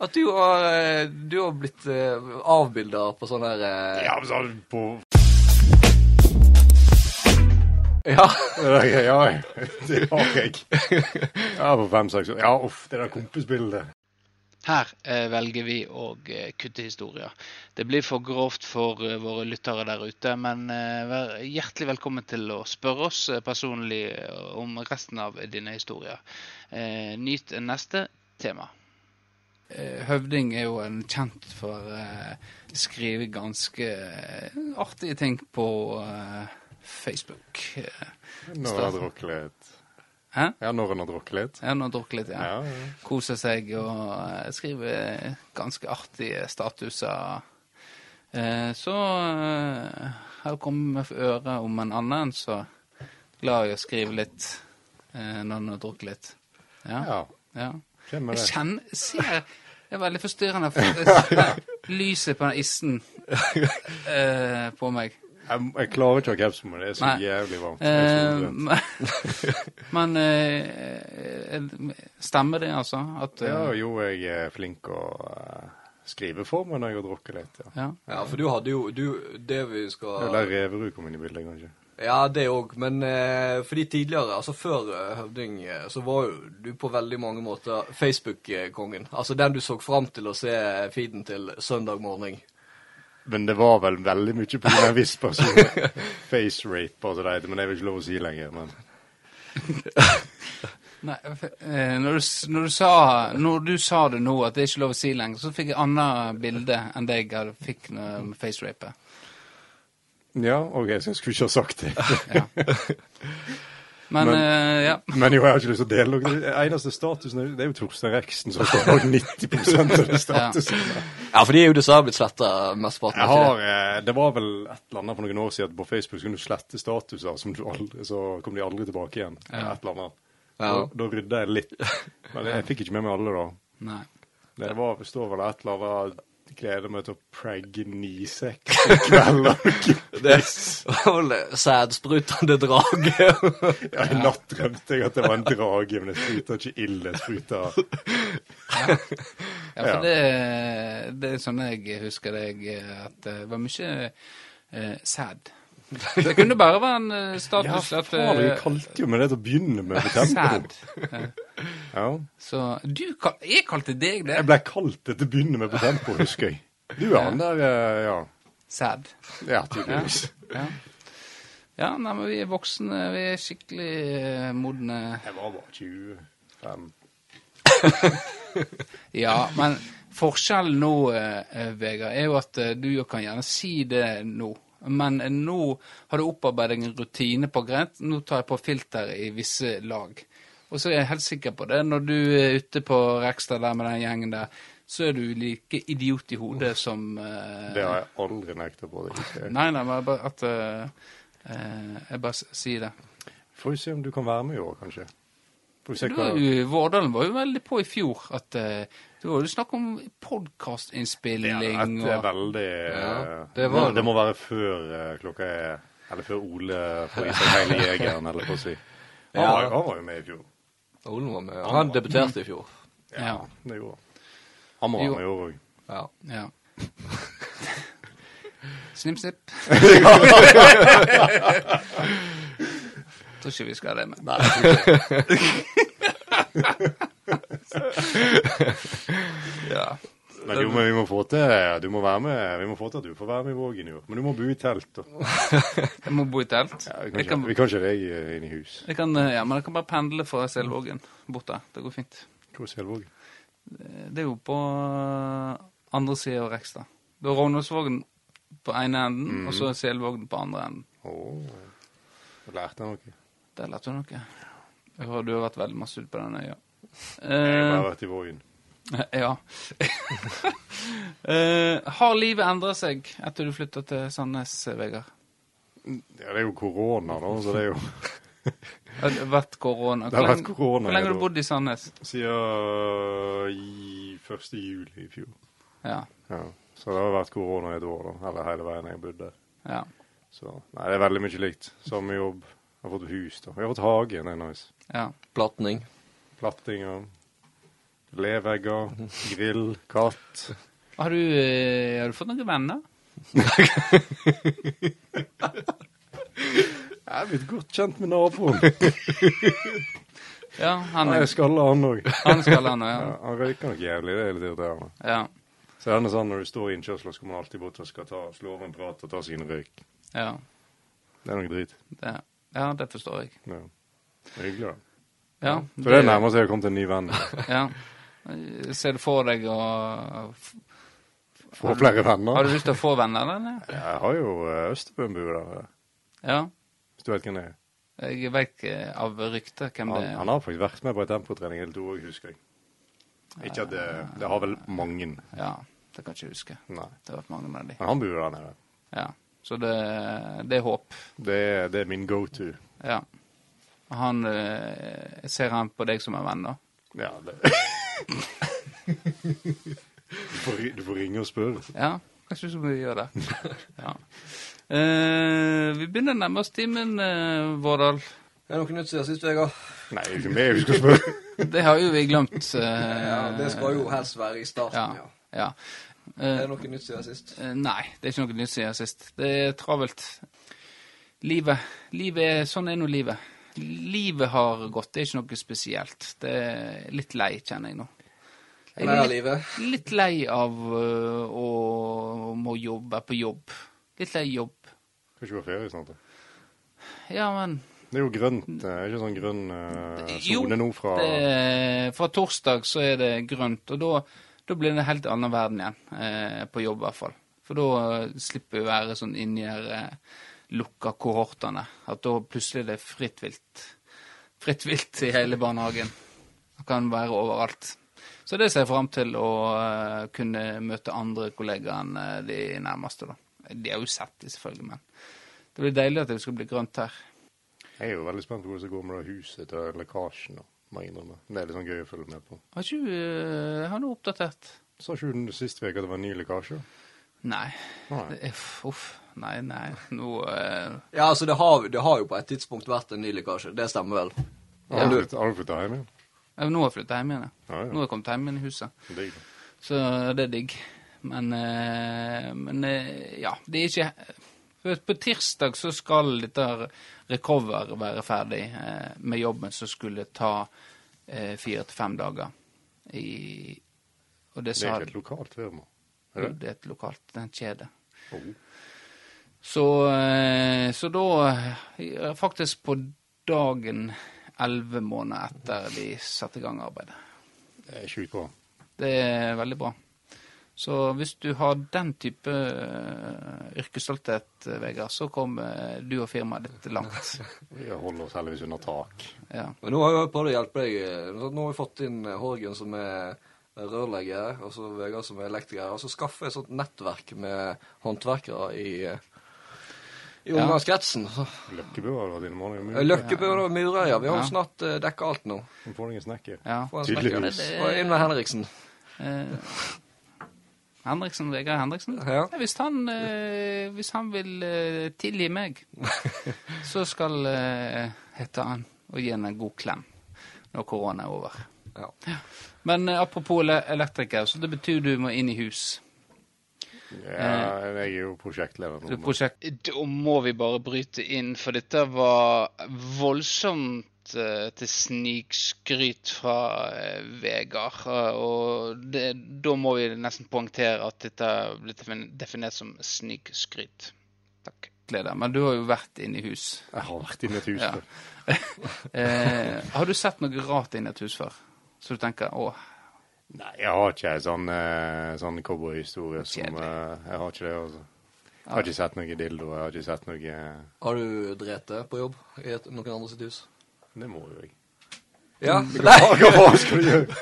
Speaker 2: At du har, eh, du har blitt uh, avbilda på sånn her eh,
Speaker 3: Ja, men så har du på
Speaker 2: ja.
Speaker 3: Ja, ja, ja, det har jeg. Ja, på fem-seks år. Ja, uff, det der kompisbildet.
Speaker 1: Her eh, velger vi å eh, kutte historier. Det blir for grovt for eh, våre lyttere der ute, men eh, vær hjertelig velkommen til å spørre oss eh, personlig eh, om resten av dine historier. Eh, nyt neste tema. Eh, Høvding er jo en kjent for eh, å skrive ganske eh, artige ting på eh, Facebook.
Speaker 3: Når han drukker litt.
Speaker 1: Hæ?
Speaker 3: Ja, når han har drukket litt.
Speaker 1: Ja, nå har drukket litt, ja.
Speaker 3: Ja, ja.
Speaker 1: Koser seg og eh, skriver ganske artige statuser. Eh, så eh, har jeg kommet med for øre om en annen, så glad i å skrive litt eh, når han har drukket litt.
Speaker 3: Ja,
Speaker 1: ja.
Speaker 3: kjenn med
Speaker 1: Jeg
Speaker 3: det.
Speaker 1: kjenner Ser Det er veldig forstyrrende. For jeg ser lyset på den issen eh, på meg.
Speaker 3: Jeg, jeg klarer ikke å ha caps på meg, det er så
Speaker 1: Nei.
Speaker 3: jævlig varmt. Det er så
Speaker 1: Eh,
Speaker 3: brent.
Speaker 1: men eh, Stemmer det, altså? At eh,
Speaker 3: Ja, jo, jeg er flink å eh, skrive for meg når jeg har drukket litt, ja.
Speaker 1: ja.
Speaker 2: Ja, for du hadde jo du, Det vi skal
Speaker 3: Eller reverud kom inn i bildet, kanskje.
Speaker 2: Ja, det òg. Men eh, fordi tidligere, altså før eh, Høvding, eh, så var jo du på veldig mange måter Facebook-kongen. Altså den du så fram til å se feeden til søndag morgen.
Speaker 3: Men det var vel veldig mye på en viss person. Face rape og så det, heter, men det er vel ikke lov å si lenger. Men
Speaker 1: Nei, eh, når, du, s- når, du sa, når du sa det nå, at det er ikke lov å si lenger, så fikk jeg annet bilde enn det jeg hadde- fikk med facerapet.
Speaker 3: ja, ok, så jeg skulle ikke ha sagt det.
Speaker 1: Ja. Men,
Speaker 3: Men-
Speaker 1: eh, ja.
Speaker 3: Men jo, jeg har ikke lyst til å dele noe. Den eneste statusen er- det er jo Torstein Reksten som står bak 90 av de statusene.
Speaker 2: Ja, for de er jo dessverre blitt sletta mesteparten.
Speaker 3: Jeg
Speaker 2: er ikke
Speaker 3: har, eh, det var vel et eller annet for noen år siden at på Facebook så kunne du slette statuser, som du aldri, så kom de aldri tilbake igjen. Et eller annet.
Speaker 2: Ja.
Speaker 3: Da, da rydda jeg litt. Men jeg fikk ikke med meg alle, da.
Speaker 1: Nei.
Speaker 3: Det var, det står vel et eller annet Gleder meg til å pragge nisekk i kveld.
Speaker 2: det. det. var vel det Sædsprutende drage.
Speaker 3: Ja, I natt drømte jeg at det var en drage, men jeg spruta ikke ild. Jeg spruta
Speaker 1: Ja, for
Speaker 3: Ja.
Speaker 1: Det, det er sånn jeg husker deg, eh, at det var mye eh, sæd. Det kunne bare være en eh,
Speaker 3: Ja,
Speaker 1: status at
Speaker 3: faen, du
Speaker 1: eh,
Speaker 3: kalte jo meg det til å begynne med. på tempo.
Speaker 1: Sæd. Eh,
Speaker 3: Ja.
Speaker 1: Så du kal Jeg kalte deg det.
Speaker 3: Jeg ble kalt det til å begynne med på tempo, husker jeg. Du er han der, eh, ja.
Speaker 1: Sæd.
Speaker 3: Ja, tydeligvis.
Speaker 1: Ja. ja, nei, men vi er voksne. Vi er skikkelig eh, modne.
Speaker 3: Jeg var bare 25.
Speaker 1: Ja, men forskjellen nå, eh, eh, Vegard, er jo at eh, du kan gjerne si det nå. Men eh, nå har du opparbeidet en rutine på greit. Nå tar jeg på filter i visse lag. Og så er jeg helt sikker på det. Når du er ute på Rekstad der med den gjengen der, så er du like idiot i hodet som eh,
Speaker 3: Det har jeg aldri nekta på. deg.
Speaker 1: Nei, nei, men bare at eh, eh, Jeg bare s- sier det.
Speaker 3: Får vi se om du kan være med i år, kanskje. Får vi se
Speaker 1: Du
Speaker 3: hva
Speaker 1: var jo, Vårdalen var jo veldig på i fjor. at eh, Det var jo snakk om podkastinnspilling
Speaker 3: Ja, at det er veldig
Speaker 2: Ja,
Speaker 3: eh,
Speaker 2: det var
Speaker 3: må- det må være før eh, klokka er Eller før Ole får i seg hele jegeren, eller hva å si. Han,
Speaker 2: Ja.
Speaker 3: var, jo- han var jo med i fjor.
Speaker 2: Olen var med. Han debuterte i fjor.
Speaker 3: Ja,
Speaker 1: Ja.
Speaker 3: det gjorde han. Han må være
Speaker 1: Jo.
Speaker 3: med i år òg.
Speaker 2: Ja.
Speaker 1: og ja. Snipp, snipp. Tror ikke vi skal ha det med. ja.
Speaker 3: Men jo, men vi må få til du må være med, vi må få til at du får være med i Vågen i år. Men du må bo i telt. da.
Speaker 1: Jeg må bo i telt.
Speaker 3: Ja, vi, kan
Speaker 1: jeg, kan,
Speaker 3: ikke, vi kan ikke ha deg eh, inn i hus.
Speaker 1: jeg, kan, eh, ja, men jeg kan bare pendle fra Selvågen bort der. Det går fint. Eh,
Speaker 3: Hvor er Selvågen?
Speaker 1: Det er jo på eh, andre sida av Rekstad. Du har Rognåsvågen på ene enden,
Speaker 3: Mm.
Speaker 1: og så Selvågen på andre enden.
Speaker 3: Åh, jeg lærte han noe.
Speaker 1: Der lærte du noe. Jeg hører du har vært veldig masse ute på den øya.
Speaker 3: Jeg har
Speaker 1: Eh,
Speaker 3: bare vært i Vågen.
Speaker 1: ja. eh, har livet endra seg etter du flytta til Sandnes, eh, Vegard?
Speaker 3: Ja, det er jo korona nå, så det er jo
Speaker 1: Har det vært korona?
Speaker 3: Det har
Speaker 1: Hvor
Speaker 3: vært
Speaker 1: lenge-
Speaker 3: korona,
Speaker 1: Hvor lenge har du
Speaker 3: ja, da.
Speaker 1: bodd i Sandnes?
Speaker 3: siden i 1. juli i fjor.
Speaker 1: Ja.
Speaker 3: Ja. Så det har vært korona i et år, da. Eller hele veien jeg bodde.
Speaker 1: ja.
Speaker 3: Så nei, det er veldig mye likt. Samme jobb. Jeg har fått hus, da. Jeg har fått hage, det er nice.
Speaker 1: ja.
Speaker 2: Platning.
Speaker 3: Plattinger. Levegger. Grill. Katt.
Speaker 1: Har, du, eh, har du fått noen venner?
Speaker 3: Jeg er blitt godt kjent med naboen.
Speaker 1: Ja, han,
Speaker 3: Nei, jeg skaller han òg.
Speaker 1: han skal ha noe.
Speaker 3: Ja,
Speaker 1: Ja.
Speaker 3: han røyker nok jævlig, det er litt irriterende.
Speaker 1: Ja.
Speaker 3: Så den er sånn når du står i innkjørselen, så kommer han alltid bort og skal ta, slå over en prat og ta sin røyk.
Speaker 1: ja.
Speaker 3: Det er noe drit.
Speaker 1: Det, ja, det forstår jeg.
Speaker 3: Ja. Det er Hyggelig, da.
Speaker 1: Ja,
Speaker 3: For det nærmer seg å komme til en ny venn.
Speaker 1: ja. Eh, Ser du for deg å
Speaker 3: Få flere
Speaker 1: Har du
Speaker 3: venner.
Speaker 1: lyst til å få venner, eller?
Speaker 3: Jeg har jo eh, Østerbømbue der,
Speaker 1: Ja.
Speaker 3: hvis du vet hvem det er.
Speaker 1: Jeg vet ikke av ryktet hvem
Speaker 3: Han,
Speaker 1: det er.
Speaker 3: han har faktisk vært med på en tempotrening eller to òg, husker jeg. Ikke at det Det har vel mange.
Speaker 1: Ja, det kan jeg ikke huske.
Speaker 3: Nei.
Speaker 1: Det har vært mange av de.
Speaker 3: Men han bor der nede.
Speaker 1: Ja. Så det, det er håp.
Speaker 3: Det er, det er min go to.
Speaker 1: Ja. Han eh, Ser han på deg som en venn, da?
Speaker 3: Ja, det du, får, ri- du får ringe og spørre.
Speaker 1: Ja. Kanskje så må vi gjøre det. Ja. Eh, vi begynner å nærme oss timen, eh, Vårdal.
Speaker 2: Er det noe nytt siden sist, Vegard?
Speaker 3: Nei, det er ikke meg du skal spørre.
Speaker 1: Det har jo vi glemt. eh,
Speaker 2: Ja, det skal jo helst være i starten,
Speaker 1: Ja.
Speaker 2: ja.
Speaker 1: ja.
Speaker 2: Er
Speaker 1: Eh,
Speaker 2: det noe nytt siden sist?
Speaker 1: Eh, Nei, det er ikke noe nytt siden sist. Det er travelt. Livet. livet er, sånn er nå livet. Livet har gått, det er ikke noe spesielt. Det er litt lei, kjenner jeg nå. Jeg
Speaker 2: Lei av
Speaker 1: litt,
Speaker 2: livet?
Speaker 1: litt lei av øh, å må jobbe på jobb. Litt lei jobb.
Speaker 3: Skal ikke gå ferie snart. da.
Speaker 1: Ja, men
Speaker 3: Det er jo grønt. Det er ikke sånn grønn eh,
Speaker 1: Jo,
Speaker 3: sone nå fra
Speaker 1: det, er- fra eh, torsdag så er det grønt, og da, da blir det en helt annen verden igjen. Eh, på jobb, i hvert fall. For da eh, slipper vi å være sånn inni her eh, lukka kohortene. At da plutselig er det fritt vilt. Fritt vilt i hele barnehagen. Det kan være overalt. Så det ser jeg fram til å eh, kunne møte andre kollegaer enn eh, de nærmeste, da. De har jo sett de, selvfølgelig, men det blir deilig at det skal bli grønt her.
Speaker 3: Jeg er jo veldig spent på hvordan det går med det huset til lekkasjen. og må jeg innrømme. Det er litt sånn gøy å følge med på.
Speaker 1: Har ikke du eh, Har du oppdatert?
Speaker 3: Sa ikke du sist uke at det var en ny lekkasje?
Speaker 1: Nei.
Speaker 3: Nei.
Speaker 1: Det er- Uff. Nei, nei. Nå eh,
Speaker 2: Ja, altså, det har, det har jo på et tidspunkt vært en ny lekkasje. Det stemmer vel?
Speaker 3: Har du flytt- har du flytta hjem igjen?
Speaker 1: eh, Nå har jeg flytta hjem igjen. ja.
Speaker 3: Ja, ja.
Speaker 1: Nå har jeg kommet hjem igjen i huset.
Speaker 3: Digg.
Speaker 1: Så det er digg. Men, eh, men eh, ja, det er ikke for På tirsdag så skal dette her Recover være ferdig eh, med jobben som skulle ta eh, fire til fem dager. I, og det
Speaker 3: Det er
Speaker 1: sa
Speaker 3: ikke et lokalt firma. Er
Speaker 1: Jo,
Speaker 3: det?
Speaker 1: det er et lokalt det er en kjede.
Speaker 3: Oh.
Speaker 1: Så, eh, så da eh, Faktisk på dagen elleve måneder etter de satte i gang arbeidet.
Speaker 3: Det er sjukt bra.
Speaker 1: Det er veldig bra. Så hvis du har den type eh, yrkesstolthet, eh, Vegard, så kommer du og firmaet ditt langt.
Speaker 3: Vi holder oss heldigvis under tak.
Speaker 1: Ja.
Speaker 2: Men nå har jeg prøvd å hjelpe deg. eh, Nå nå har vi fått inn eh, Horgen som er rørlegger, og så Vegard som er elektriker. Og så skaffer jeg et sånt nettverk med håndverkere i, eh, i
Speaker 1: Ja.
Speaker 2: omgangskretsen.
Speaker 3: Løkkebø har vært innom morgenen.
Speaker 2: Eh, Løkkebø og Murøya. Vi har
Speaker 1: Ja.
Speaker 2: jo snart eh, dekka alt nå.
Speaker 3: Hun får deg en snekker.
Speaker 1: ja.
Speaker 2: Få en
Speaker 3: Tydeligvis.
Speaker 2: snekker. Og inn med Henriksen.
Speaker 1: Eh, Henriksen, Vegard Henriksen.
Speaker 2: Ja.
Speaker 1: Nei, hvis, han, eh, hvis han vil eh, tilgi meg, så skal eh, hete han og gi han en god klem når korona er over.
Speaker 2: Ja.
Speaker 1: Men eh, apropos ele- elektriker, så det betyr du må inn i hus.
Speaker 3: Ja, jeg er jo prosjektleder nå.
Speaker 1: Eh. Det er
Speaker 3: men-
Speaker 1: prosjekt. Da må vi bare bryte inn, for dette var voldsomt eh, til snikskryt fra eh, Vegard. eh, Og det, da må vi nesten poengtere at dette ble defin- definert som snikskryt. Takk. Gleder. Men du har jo vært inne i hus.
Speaker 3: Jeg har vært inne i et hus
Speaker 1: Ja.
Speaker 3: før.
Speaker 1: Eh, har du sett noe rart inne i et hus før? Så du tenker å,
Speaker 3: Nei, jeg har ikke ei sånn, eh, sånn cowboyhistorie som
Speaker 1: Kjedelig.
Speaker 3: eh, Jeg har ikke det, altså. Jeg har ikke sett noe dildo, jeg har ikke sett noe eh,
Speaker 2: Har du drept deg på jobb i et, noen andre sitt hus? Mm.
Speaker 3: Det må jo jeg.
Speaker 2: Ja.
Speaker 3: Hva,
Speaker 2: Nei!
Speaker 3: hva skal du gjøre?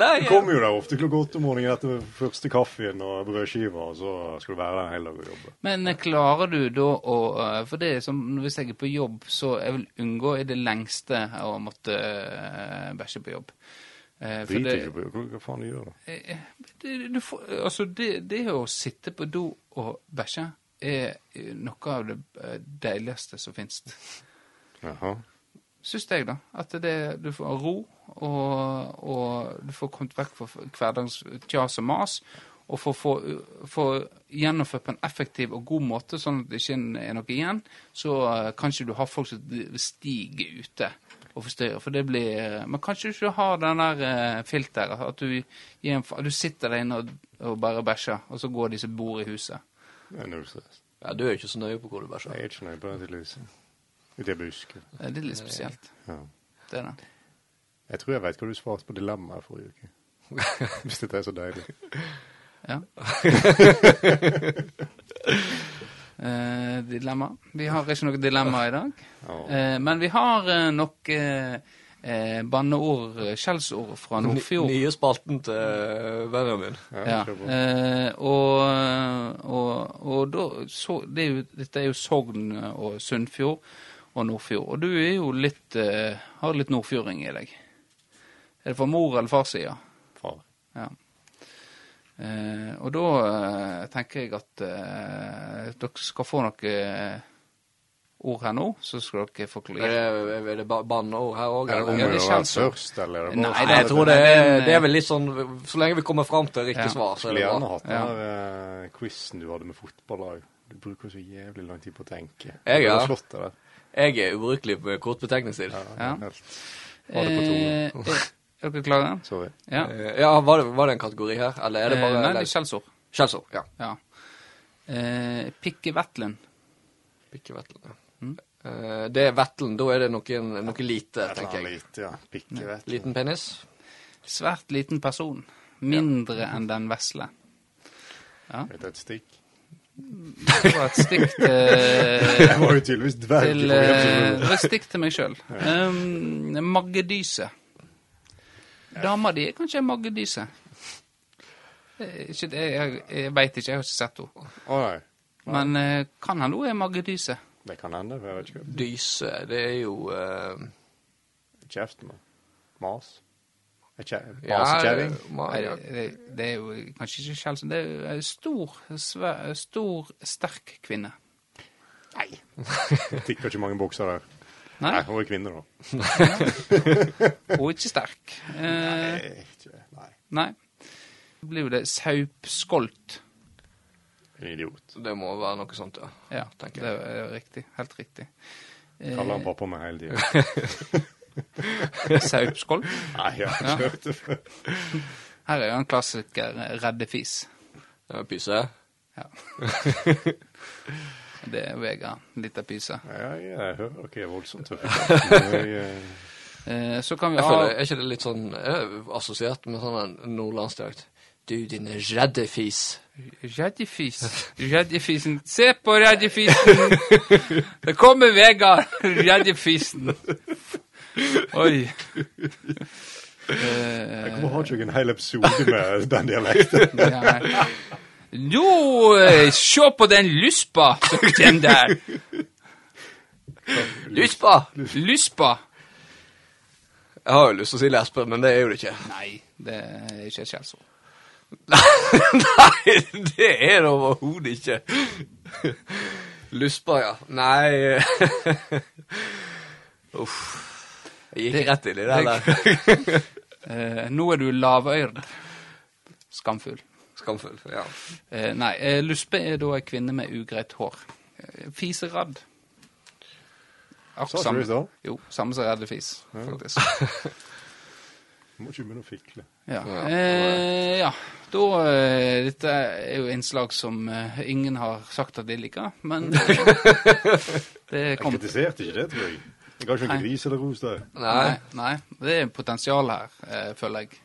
Speaker 2: Nei
Speaker 3: Du kommer jo der ofte klokka åtte om morgenen etter første kaffen og brødskiva, og så skal du være der en hel dag og jobbe.
Speaker 1: Men eh, klarer du da å eh, For det er som hvis jeg er på jobb, så jeg vil unngå i det lengste å måtte eh, bæsje på jobb. Eh, For
Speaker 3: Driter
Speaker 1: det,
Speaker 3: ikke på hva, hva faen du gjør da?
Speaker 1: eh, det, du får, altså det, det å sitte på do og bæsje er eh, noe av det eh, deiligste som fins.
Speaker 3: Jaha.
Speaker 1: Syns jeg, da. At det, du får ro, og, og du får kommet vekk fra hverdagens kjas og mas. Og får få- få gjennomført på en effektiv og god måte, sånn at det ikke er noe igjen, så eh, kan ikke du ha folk som stiger ute og forstyrrer. For det blir eh, Men kanskje du ikke har den der eh, filteret, at du, gir en, fa- du sitter der inne og, og bare bæsjer, og så går de som bor i huset.
Speaker 3: Det er null stress.
Speaker 2: Ja, du er ikke så nøye på hvor du bæsjer.
Speaker 3: Jeg er ikke nøye på det, tydeligvis. Ute i busken.
Speaker 1: Eh, Det er litt spesielt.
Speaker 3: Ja.
Speaker 1: Det er det.
Speaker 3: Jeg tror jeg vet hva du svarte på dilemmaet forrige uke. Hvis dette er så deilig.
Speaker 1: Ja. Eh, dilemma. Vi har ikke noe dilemma i dag.
Speaker 3: Ja.
Speaker 1: Eh, men vi har eh, nok eh, eh, banneord, eh, skjellsord fra Nordfjord.
Speaker 2: Nye spalten til eh, Benjamin.
Speaker 1: Ja.
Speaker 3: kjør på.
Speaker 1: Eh, og, og, og da så, det er jo, Dette er jo Sogn og Sunnfjord og Nordfjord. Og du er jo litt eh, har litt nordfjording i deg. Er det fra mor eller farssida?
Speaker 3: Far.
Speaker 1: Ja. Eh, og da eh, tenker jeg at eh, dere skal få noen eh, ord her nå, så skal dere få
Speaker 2: Er det, er det ba- banneord her òg?
Speaker 3: Er det om
Speaker 1: Ja,
Speaker 3: å
Speaker 1: det
Speaker 3: gjøre å være
Speaker 1: kjennes sånn.
Speaker 3: først, eller er det
Speaker 1: Nei,
Speaker 3: bare
Speaker 1: det-
Speaker 2: Nei, jeg tror det
Speaker 1: Men,
Speaker 2: er,
Speaker 1: eh,
Speaker 2: det er vel litt sånn Så lenge vi kommer fram til
Speaker 1: Ja.
Speaker 2: riktig svar, så er
Speaker 3: Skulle
Speaker 2: det
Speaker 3: gjerne
Speaker 2: bra.
Speaker 3: hatt den der eh, quizen du hadde med fotballag. Du bruker så jævlig lang tid på å tenke.
Speaker 2: Jeg, ja.
Speaker 3: Det var slått av det.
Speaker 2: Jeg er ubrukelig på kort betegningstid.
Speaker 3: Ja,
Speaker 1: Ja.
Speaker 3: Helt. Ha det på
Speaker 1: Eh,
Speaker 3: tungen.
Speaker 1: eh, Er dere klare?
Speaker 3: Sorry.
Speaker 1: Ja.
Speaker 2: Eh, Ja, var det, var det en kategori her, eller er det
Speaker 1: Eh,
Speaker 2: bare
Speaker 1: Nei, det er skjellsord.
Speaker 2: Skjellsord. Ja.
Speaker 1: Ja. Eh, Pikke Vettlund.
Speaker 2: Pikke Vettelen. ja. Eh, Det er Vettelen. Da er det noe, noe lite,
Speaker 3: Et eller
Speaker 2: tenker
Speaker 3: annet
Speaker 2: jeg.
Speaker 3: lite, ja. Pikke, vet du.
Speaker 2: Liten penis.
Speaker 1: Svært liten person. Mindre enn den vesle.
Speaker 3: Et, et stikk.
Speaker 1: Det var et eh, stikk til,
Speaker 3: Jeg var jo tydeligvis dverg. i
Speaker 1: til,
Speaker 3: forrige
Speaker 1: eh,
Speaker 3: episode.
Speaker 1: det var et stikk til meg sjøl. Um, Magge Dyse. Dama di er kanskje Magge Dyse. Eh, Ikke, det- jeg jeg veit ikke, jeg har ikke sett henne.
Speaker 3: Å nei.
Speaker 1: Men eh, kan han henne er Magge Dyse?
Speaker 3: Det kan hende, for jeg vet ikke.
Speaker 2: Dyse, det er jo eh,
Speaker 3: Kjeft med. Mas. Er kje-
Speaker 2: ja, eh,
Speaker 3: Masekjerring.
Speaker 2: ma-
Speaker 1: Nei,
Speaker 2: ja.
Speaker 1: det, det- det er jo kanskje ikke Kjell Det er jo ei stor, svær, stor, sterk kvinne.
Speaker 3: Det Tikker ikke mange bukser der. Nei,
Speaker 1: Nei,
Speaker 3: hun er kvinne, da.
Speaker 1: hun er ikke sterk. Eh,
Speaker 3: Nei, ikke- Nei.
Speaker 1: Nei. Det blir jo det saupskolt.
Speaker 3: En idiot.
Speaker 2: Det må være noe sånt, ja.
Speaker 1: Ja,
Speaker 2: Tenker
Speaker 1: det er riktig. Helt riktig. Eh,
Speaker 3: Kaller han pappa meg hele tiden.
Speaker 1: saupskolt.
Speaker 3: Nei, jeg har ikke hørt det før.
Speaker 1: Her er jo en klassiker, eh, Redde fis.
Speaker 2: Ja, Pyse.
Speaker 1: Ja. Det er Vegard, lita pyse.
Speaker 3: Jeg, jeg hører ikke okay, voldsomt tøff. Jeg, eh,
Speaker 1: Eh, så kan vi
Speaker 2: Jeg føler,
Speaker 1: ha
Speaker 2: Er ikke det litt sånn eh, assosiert med sånn en nordlandsdialekt? Du, din redde fis.
Speaker 1: Reddefis. Reddefisen. Se på reddefisen! Det kommer Vegard! Reddefisen. Oi. Eh,
Speaker 3: Hvorfor har ikke jeg en hel episode med den dialekten?
Speaker 1: Ja. Nå, eh, se på den lyspa som kommer der.
Speaker 2: Lyspa!
Speaker 1: Lyspa.
Speaker 2: Jeg har jo lyst til å si lesbe, men det er jo det ikke.
Speaker 1: Nei, det er ikke et skjellsord.
Speaker 2: Nei, det er det overhodet ikke. Lyspa, ja. Nei Uff. Jeg gikk rett inn i det der.
Speaker 1: Eh, nå er du lavøyd. Skamfull.
Speaker 2: Skamfull. Ja.
Speaker 1: Eh, nei, eh, luspe er da ei kvinne med ugreit hår. Eh, Fiseradd.
Speaker 3: Sa ikke du det i stad?
Speaker 1: Jo, samme som redde fis, faktisk.
Speaker 3: Må ikke begynne å fikle.
Speaker 1: Ja.
Speaker 2: Ja.
Speaker 1: Eh, ja. Da, eh, dette er jo innslag som eh, ingen har sagt at de liker, men eh, det
Speaker 3: Jeg
Speaker 1: kom
Speaker 3: kritiserte ikke det, tror jeg. Jeg har ikke
Speaker 1: Nei.
Speaker 3: noen gris eller ros der.
Speaker 2: Nei.
Speaker 1: Nei, det er potensial her, eh, føler jeg.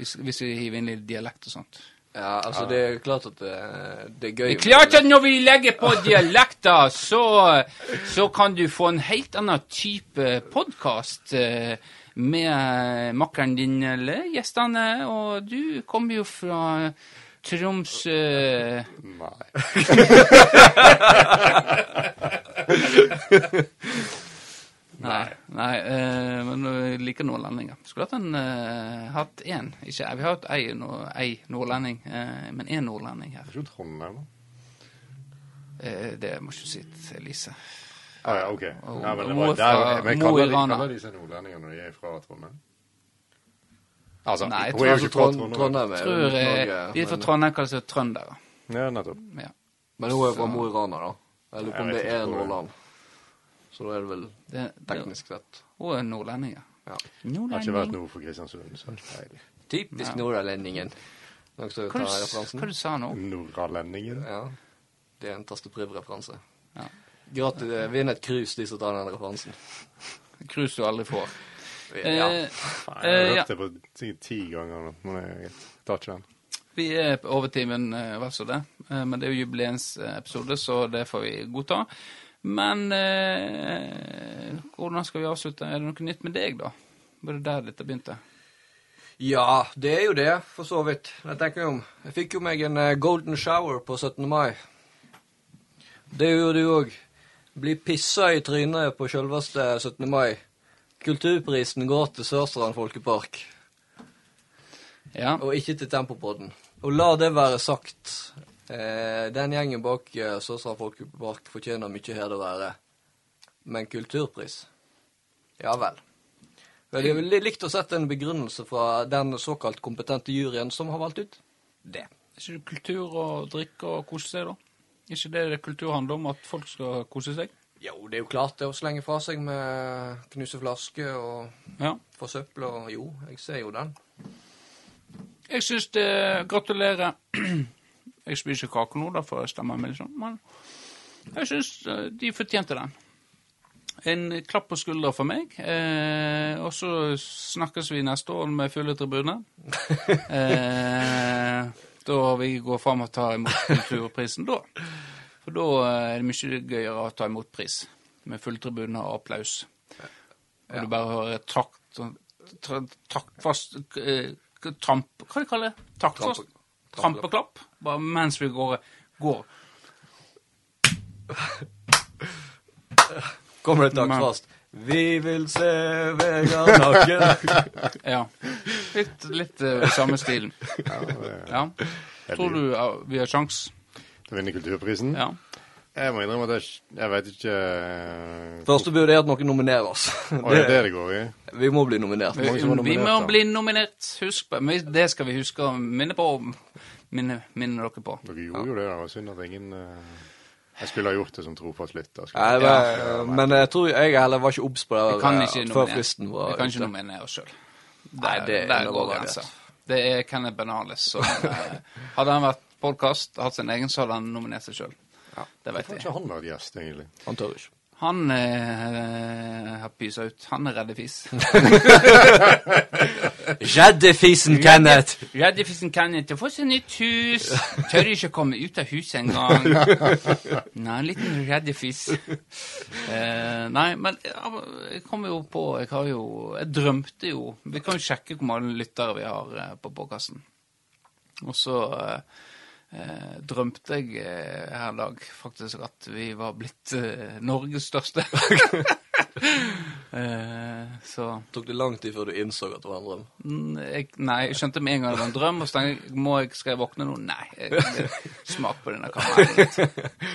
Speaker 1: Hvis, hvis vi hiver inn litt dialekt og sånt.
Speaker 2: Ja, altså, det er klart at det, det er gøy.
Speaker 1: Det er klart at når vi legger på dialekter, så, så kan du få en helt annen type podkast med makkeren din eller gjestene, og du kommer jo fra Troms eh,
Speaker 3: Nei.
Speaker 1: Nei, nei eh, men jeg liker nordlendinger. Skulle hatt en, eh, hatt én. Ikke, vi har hatt ei, nord- ei nordlending, eh, men én nordlending her.
Speaker 3: Det er ikke Trondheim, da.
Speaker 1: Eh, det må ikke du si til Elise.
Speaker 3: Ah, ja, OK. Ja, men det
Speaker 1: Mo
Speaker 3: var
Speaker 1: er fra-
Speaker 3: der, men
Speaker 1: Mo i
Speaker 3: kaller de,
Speaker 1: Rana.
Speaker 3: kaller de seg nordlendinger når de er fra Trondheim? Altså,
Speaker 1: Nei, jeg
Speaker 3: hun er jo
Speaker 2: Altså,
Speaker 3: ikke fra
Speaker 2: Trond-
Speaker 3: Trondheim.
Speaker 2: Trondheim er
Speaker 1: Tror, eh,
Speaker 2: Norge,
Speaker 1: de er fra
Speaker 2: men-
Speaker 1: Trondheim, kalles det trøndere.
Speaker 3: Ja, nettopp.
Speaker 1: Ja.
Speaker 2: Men hun er fra Mo i Rana, da. Jeg lurer på om
Speaker 3: Jeg
Speaker 2: det
Speaker 3: vet ikke
Speaker 2: er
Speaker 3: hvor det er.
Speaker 2: Nordland. Så da er det vel
Speaker 1: Det, det,
Speaker 2: teknisk sett.
Speaker 1: hun er nordlending, ja.
Speaker 2: Ja.
Speaker 3: Jeg har ikke vært nord for Kristiansund, så det er deilig.
Speaker 2: Typisk nordlendingen. Noen som
Speaker 1: Hva
Speaker 2: tar
Speaker 1: du, s- hva
Speaker 2: referansen? Mm.
Speaker 1: du sa nå?
Speaker 3: Nordralendingen.
Speaker 2: Ja. Det er en tasteprøvreferanse.
Speaker 1: Ja.
Speaker 2: Gratis, vinn et krus, de som tar den referansen.
Speaker 1: Krus du aldri får.
Speaker 2: Ja.
Speaker 1: Eh,
Speaker 3: Faen,
Speaker 1: eh,
Speaker 3: jeg har
Speaker 1: ja.
Speaker 3: hørt det på sikkert ti ganger nå, men jeg tar ikke den.
Speaker 1: Vi er på over timen, eh, vel så det. Eh, Men det er jo jubileumsepisode, så det får vi godta. Men eh, hvordan skal vi avslutte? Er det noe nytt med deg, da? Var det der dette begynte?
Speaker 2: Ja, det er jo det, for så vidt. Jeg tenker jo om. Jeg fikk jo meg en eh, golden shower på 17. mai. Det gjorde du òg. Bli pissa i trynet på sjølveste 17. mai. Kulturprisen går til Sørstrand folkepark,
Speaker 1: Ja.
Speaker 2: og ikke til Tempopodden. Og la det være sagt, eh, den gjengen bak eh, Sørstrand folkepark fortjener mye heder å være. Men kulturpris? Ja vel. Vel, Jeg ville likt å sett en begrunnelse fra den såkalt kompetente juryen som har valgt ut det.
Speaker 1: Er ikke det kultur og drikke og kose seg, da? Er ikke det det kultur handler om, at folk skal kose seg?
Speaker 2: Jo, det er jo klart det å slenge fra seg med knuse flasker og
Speaker 1: Ja.
Speaker 2: forsøple og jo, jeg ser jo den.
Speaker 1: Jeg syns det Gratulerer. Jeg spiser kake nå, da får jeg stemmen min, liksom. Men jeg syns de fortjente den. En klapp på skuldra for meg. Eh, og så snakkes vi neste år med fulle tribuner. Eh, da vi går fram og tar imot kulturprisen da. For da eh, er det mye gøyere å ta imot pris. Med full tribune og applaus. Og du bare hører takt, sånn, tra- taktfast eh, k- tramp... Hva de kaller det? Taktfast?
Speaker 2: Trampe-
Speaker 1: Trampeklapp? Bare mens vi går. går.
Speaker 2: Kommer det
Speaker 1: Men-
Speaker 2: takk fast? Vi vil se Vegard naken.
Speaker 1: Ja. Litt, litt eh, samme stilen.
Speaker 3: Ja, det-
Speaker 1: Ja. Tror du eh, vi har sjans?
Speaker 3: Til å vinne Kulturprisen?
Speaker 1: Ja.
Speaker 3: Jeg må innrømme at jeg, jeg vet ikke eh, hvor-
Speaker 2: Første bud er at noen nominerer oss.
Speaker 3: Å, er det det det går i?
Speaker 2: Vi må bli nominert.
Speaker 1: Vi,
Speaker 3: mange som var
Speaker 1: vi må
Speaker 3: nominert, da.
Speaker 1: bli nominert. Husk på, men det skal vi huske å minne på. Minne, minne dere på.
Speaker 3: Dere gjorde jo det. da. Det var synd at ingen eh, Jeg skulle ha gjort det som trofast lytter. skulle
Speaker 2: Nei,
Speaker 3: jeg.
Speaker 2: men, men jeg tror jeg heller var ikke obs på det
Speaker 1: Vi kan
Speaker 2: eh,
Speaker 1: ikke
Speaker 2: før
Speaker 1: nominere,
Speaker 2: fristen var
Speaker 1: vi kan ikke
Speaker 2: ute.
Speaker 1: nominere oss sjøl.
Speaker 2: Nei,
Speaker 1: Der,
Speaker 2: det er
Speaker 1: der går
Speaker 2: undervurdert.
Speaker 1: grensa. Det er Kenneth Benales som eh, Hadde han vært podkast, hatt sin egen, så hadde han nominert seg sjøl. Det vet
Speaker 3: Hvorfor har
Speaker 1: jeg.
Speaker 3: ikke han vært gjest, egentlig?
Speaker 2: Han tør ikke.
Speaker 1: Han eh, har pysa ut. Han er reddefis.
Speaker 2: Gjeddefisen Kenneth!
Speaker 1: Reddefisen Kenneth har fått seg nytt hus. Tør ikke å komme ut av huset engang. Nei, en liten reddefis. Eh, nei, men ja, jeg kom jo på Jeg har jo Jeg drømte jo Vi kan jo sjekke hvor mange lyttere vi har eh, på podkasten. Og så eh, eh, drømte jeg eh, her en dag faktisk at vi var blitt eh, Norges største. eh, så
Speaker 2: Tok det lang tid før du innså at det var en drøm?
Speaker 1: Mm, jeg, nei, jeg skjønte med en gang det var en drøm, og så tenkte jeg må jeg, skal jeg våkne nå? Nei. Jeg, smak på denne karamellen. litt.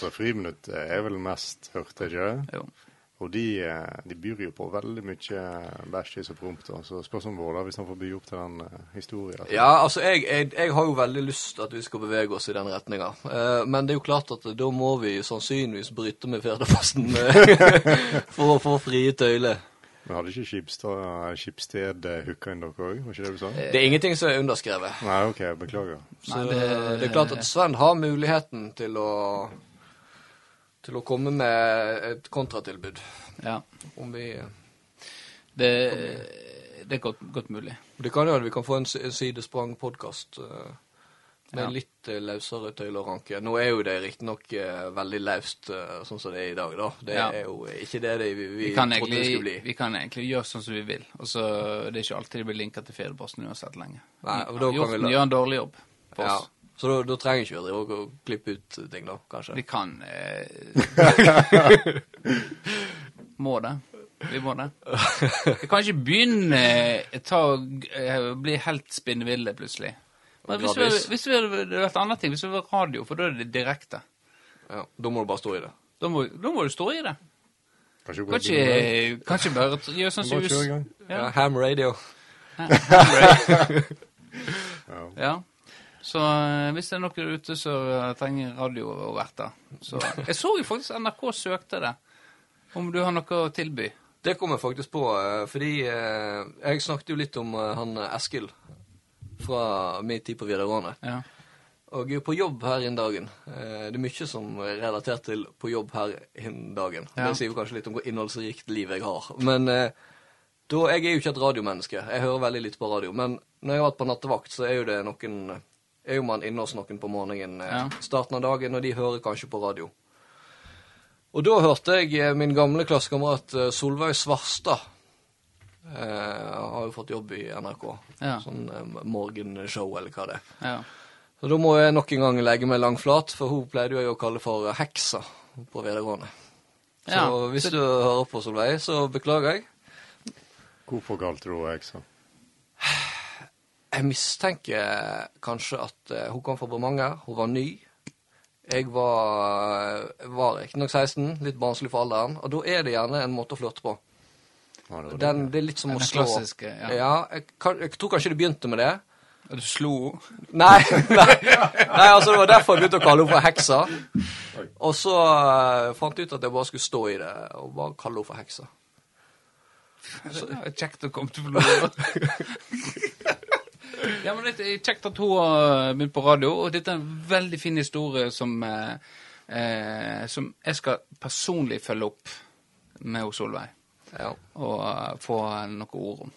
Speaker 3: Så Friminutt eh, er vel mest hørte, ikke det?
Speaker 1: Jo.
Speaker 3: Og de, eh, de byr jo på veldig mye bæsjis og promp, da. så spørs om Våler hvis han får by opp til den eh, historien.
Speaker 2: Ja, altså, jeg, jeg, jeg har jo veldig lyst at vi skal bevege oss i den retninga. Eh, men det er jo klart at da må vi sannsynligvis bryte med Firdafossen eh, for å få frie tøyler.
Speaker 3: Men hadde ikke Skipstad- Skipsted eh, hooka inn dere òg, var ikke det du sa?
Speaker 2: Det er ingenting som er underskrevet.
Speaker 3: Nei, OK, beklager.
Speaker 2: Så
Speaker 1: Nei,
Speaker 2: det,
Speaker 1: det-
Speaker 2: er klart at Sven har muligheten til å til å komme med et kontratilbud.
Speaker 1: Ja.
Speaker 2: Om vi
Speaker 1: Det, det er godt, godt mulig.
Speaker 2: Det kan jo at vi kan få en, s- en sidesprang-podkast med
Speaker 1: Ja.
Speaker 2: litt eh, løsere tøyleranke. Nå er jo det riktignok uh, veldig løst eh, sånn som det er i dag, da. Det
Speaker 1: Ja.
Speaker 2: er jo ikke det, det vi, vi,
Speaker 1: Vi kan,
Speaker 2: trodde det skulle
Speaker 1: egentlig,
Speaker 2: bli.
Speaker 1: vi kan egentlig gjøre sånn som vi vil. Og så Det er ikke alltid det blir linka til Fedreposten uansett lenge.
Speaker 2: Nei, og da kan vi
Speaker 1: Hjorten
Speaker 2: la-
Speaker 1: gjør en dårlig jobb for
Speaker 2: Ja.
Speaker 1: oss.
Speaker 2: Så da, da trenger ikke vi å drive og klippe ut ting, da, kanskje.
Speaker 1: Vi kan eh, Må det. Vi må det. Vi kan ikke begynne eh, ta, eh, bli helt spinnville plutselig. Men hvis vi,
Speaker 2: Gradvis.
Speaker 1: hvis vi hadde det hadde vært andre ting, hvis vi var radio, for da er det direkte.
Speaker 2: Ja, da må du bare stå i det.
Speaker 1: Da må, da må du stå i det.
Speaker 3: Kanskje
Speaker 1: Kan ikke, kan ikke bare t- gjøre sånn som
Speaker 3: Bare kjør i
Speaker 1: US.
Speaker 3: gang.
Speaker 1: Ja.
Speaker 2: Ja. Ham radio.
Speaker 1: Ja. Så eh, hvis det er noen der ute som eh, trenger radio og verter så eh, Jeg så jo faktisk NRK søkte det. Om du har noe å tilby.
Speaker 2: Det kom jeg faktisk på, eh, fordi eh, jeg snakket jo litt om eh, han eh, Eskil fra min tid på videregående.
Speaker 1: Ja.
Speaker 2: Og på jobb her innen dagen. Eh, Det er mye som er relatert til på jobb her innen dagen.
Speaker 1: Ja.
Speaker 2: Det sier jo kanskje litt om hvor innholdsrikt liv jeg har. Men eh, Da, jeg er jo ikke et radiomenneske. Jeg hører veldig lite på radio. Men når jeg har vært på nattevakt, så er jo det noen Er jo man inne hos noen på morgenen, eh,
Speaker 1: Ja.
Speaker 2: starten av dagen, og de hører kanskje på radio. Og da hørte jeg eh, min gamle klassekamerat eh, Solveig Svarstad. Eh, har jo fått jobb i NRK.
Speaker 1: Ja.
Speaker 2: Sånn eh, morgenshow, eller hva det er.
Speaker 1: Ja.
Speaker 2: Så da må jeg nok en gang legge meg langflat, for hun pleide jo jeg å kalle for heksa på videregående. Så
Speaker 1: Ja,
Speaker 2: hvis
Speaker 1: så-
Speaker 2: du hører på Solveig, så beklager jeg.
Speaker 3: Hvorfor kalte du henne heksa?
Speaker 2: Jeg mistenker kanskje at eh, hun kom fra Bremanger. Hun var ny. Jeg var, eh, var riktignok 16, litt barnslig for alderen. Og da er det gjerne en måte å flørte på.
Speaker 3: Ja, det var det.
Speaker 2: Den, det er litt som
Speaker 1: Den
Speaker 2: å slå
Speaker 1: klassiske, ja.
Speaker 2: jeg, kan, jeg tror kanskje det begynte med det.
Speaker 1: Og Du slo
Speaker 2: Nei, nei, nei, altså det var derfor jeg begynte å kalle henne for heksa. Og så eh, fant jeg ut at jeg bare skulle stå i det og bare kalle henne for heksa.
Speaker 1: henne. Altså, Kjekt å komme til Florø. ja, men det er kjekt at hun har begynt på radio, og dette er en veldig fin historie som, eh, eh, som jeg skal personlig følge opp med hos Solveig.
Speaker 2: Ja.
Speaker 1: og eh, få noen ord om.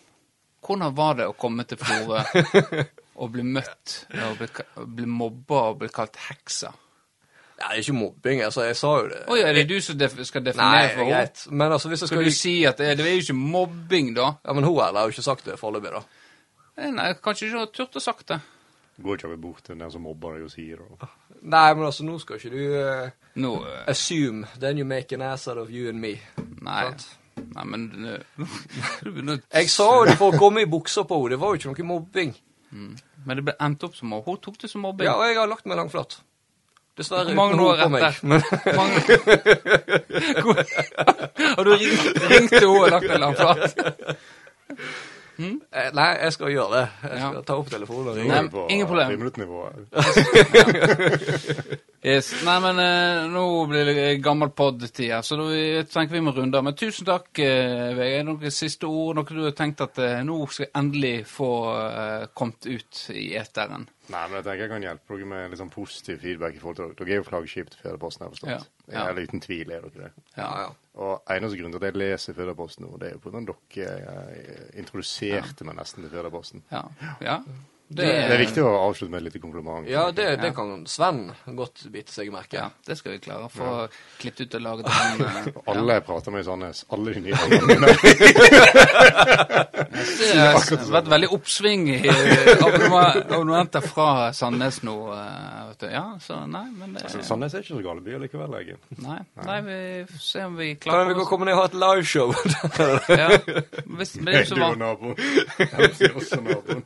Speaker 1: Hvordan var det å komme til Florø og bli møtt og bli, ka- bli mobba og bli kalt heksa?
Speaker 2: Nei, det er ikke mobbing, altså. Jeg sa jo det.
Speaker 1: Oi, er det du som def skal
Speaker 2: Nei,
Speaker 1: definere for henne?
Speaker 2: greit. Men altså, hvis jeg
Speaker 1: Skal
Speaker 2: skulle
Speaker 1: du si at det, det er jo ikke mobbing, da?
Speaker 2: Ja, Men hun eller har jo ikke sagt det foreløpig, da.
Speaker 1: Eh, Nei, kanskje ikke hadde turt å sagt det.
Speaker 3: Går ikke bort til den som mobber deg og sier det.
Speaker 2: Nei, men altså, nå skal ikke du eh,
Speaker 1: Nå eh,
Speaker 2: assume then you make an ass out of you and me.
Speaker 1: Nei.
Speaker 2: Sant.
Speaker 1: Nei, men eh, du begynner å-
Speaker 2: Jeg sa jo det for å komme i buksa på henne. Det var jo ikke noe mobbing.
Speaker 1: Men det ble endt opp som mobbing. Hun tok det som mobbing.
Speaker 2: Ja, og jeg har lagt meg langflat. Dessverre uten
Speaker 1: Magne
Speaker 2: hår
Speaker 1: har
Speaker 2: på
Speaker 1: rett
Speaker 2: meg.
Speaker 1: der. Magne... og du ringte, ringte henne og lagt henne flat.
Speaker 2: Eh, Nei, jeg skal gjøre det. Jeg skal
Speaker 1: Ja.
Speaker 2: ta opp telefonen og ringe.
Speaker 1: Nei, ingen problem.
Speaker 3: Friminuttnivå.
Speaker 1: Yes. Nei, men eh, nå blir det gammel podd-tid her, så da vi- tenker vi må runde av. Men tusen takk, eh, Vegard. Noen siste ord? Noe du har tenkt at eh, nå skal jeg endelig få eh, kommet ut i eteren?
Speaker 3: Nei, men jeg tenker jeg kan hjelpe dere med litt sånn positiv feedback. i forhold til Dere er jo flaggskip til Fjerdeposten, jeg forstått.
Speaker 1: Ja. Ja.
Speaker 3: Eller uten tvil er dere det.
Speaker 2: Ja, ja.
Speaker 3: Og eneste grunn til at jeg leser Fjerdeposten nå, det er jo på grunn av at dere eh, introduserte meg nesten til Fjerdeposten.
Speaker 1: Ja. ja.
Speaker 3: Det, det er viktig å avslutte med et lite kompliment.
Speaker 2: ja det, det
Speaker 1: Ja.
Speaker 2: kan Sven godt bite seg merke.
Speaker 1: Ja, det skal vi klare å få klippet ut og laget. Den, eh,
Speaker 3: Alle jeg prater med i Sandnes, alle de nye vennene mine.
Speaker 1: Det har vært veldig oppsving i eh, abonnement- abonnenter fra Sandnes nå. eh, vet du. Ja, Altså, så nei, men det,
Speaker 3: Sandnes er ikke så gal by likevel, jeg.
Speaker 1: nei, nei, vi får se om vi
Speaker 2: Kan
Speaker 1: klarer
Speaker 2: vi gå og komme ned og ha et liveshow?
Speaker 1: Ja. Hvis, men det er
Speaker 3: Hey,
Speaker 1: jo så
Speaker 3: du og
Speaker 1: vanlig.
Speaker 3: naboen. Jeg sier også naboen.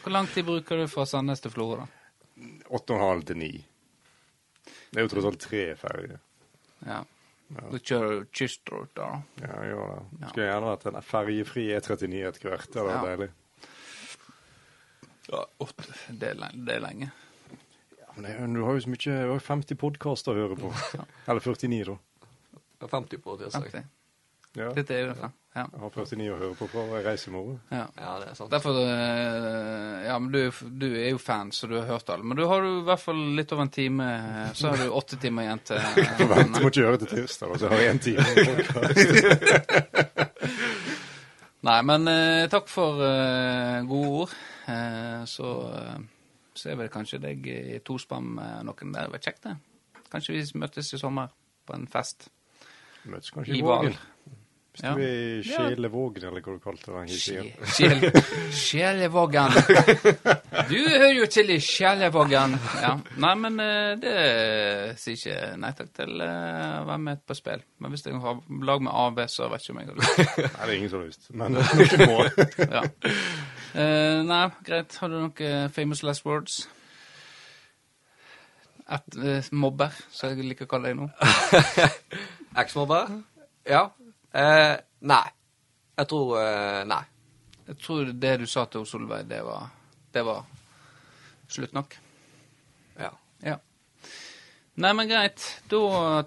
Speaker 1: Hvor lang tid bruker du fra Sandnes til Florø, da?
Speaker 3: Åtte og en halv til ni. Det er jo tross alt tre ferger.
Speaker 1: Ja. Du kjører kystruta, da.
Speaker 3: Ja, jeg gjør det.
Speaker 1: Ja.
Speaker 3: Skulle gjerne vært en ferjefri E39 etter hvert. Det hadde vært
Speaker 1: Ja. Ja,
Speaker 3: deilig.
Speaker 1: det, er lenge, det er lenge.
Speaker 3: Ja, men det, er jo- du har jo så mye Du har jo 50 podkaster å høre på. Eller 49, da.
Speaker 2: 50 på tirsdag.
Speaker 1: Samtidig.
Speaker 3: Ja.
Speaker 1: Dette er jo det. Ja.
Speaker 3: Jeg har 49 å høre på fra jeg reiser i morgen.
Speaker 1: ja.
Speaker 2: Ja, det er sant.
Speaker 1: Derfor eh, Ja, men du, er jo f- du er jo fan, så du har hørt alle. Men du har jo i hvert fall litt over en time, eh, så har du åtte timer igjen til eh,
Speaker 3: Vent, du må ikke høre til tirsdag, og så har jeg én time. med podcast.
Speaker 1: Nei, men eh, takk for eh, gode ord. Eh, så eh, ser vi kanskje deg i tospam med noen der. Det var kjekt, det. Kanskje vi møtes i sommer på en fest.
Speaker 3: Møtes kanskje
Speaker 1: I
Speaker 3: i
Speaker 1: Val.
Speaker 3: Vågen. Hvis du er i
Speaker 1: Ja.
Speaker 3: Sjelevågen, eller hva du kalte den hissige.
Speaker 1: Skjel- Skjelevågen. Du hører jo til i Skjelevågen. Ja. Nei, men eh, det sier ikke nei takk til eh, å være med på spill. Men hvis jeg har lag med AB, så vet ikke om jeg har lyst.
Speaker 3: Nei, det er ingen som har lyst. Men noen må.
Speaker 1: Ja. Eh, nei, greit. Har du noen famous last words? Et eh, mobber, som jeg liker å kalle deg nå.
Speaker 2: Eksmobber? Ja. Eh, nei. Jeg tror eh, Nei.
Speaker 1: Jeg tror det du sa til Solveig, det var, det var slutt nok.
Speaker 2: Ja.
Speaker 1: Ja. Nei, men greit. Da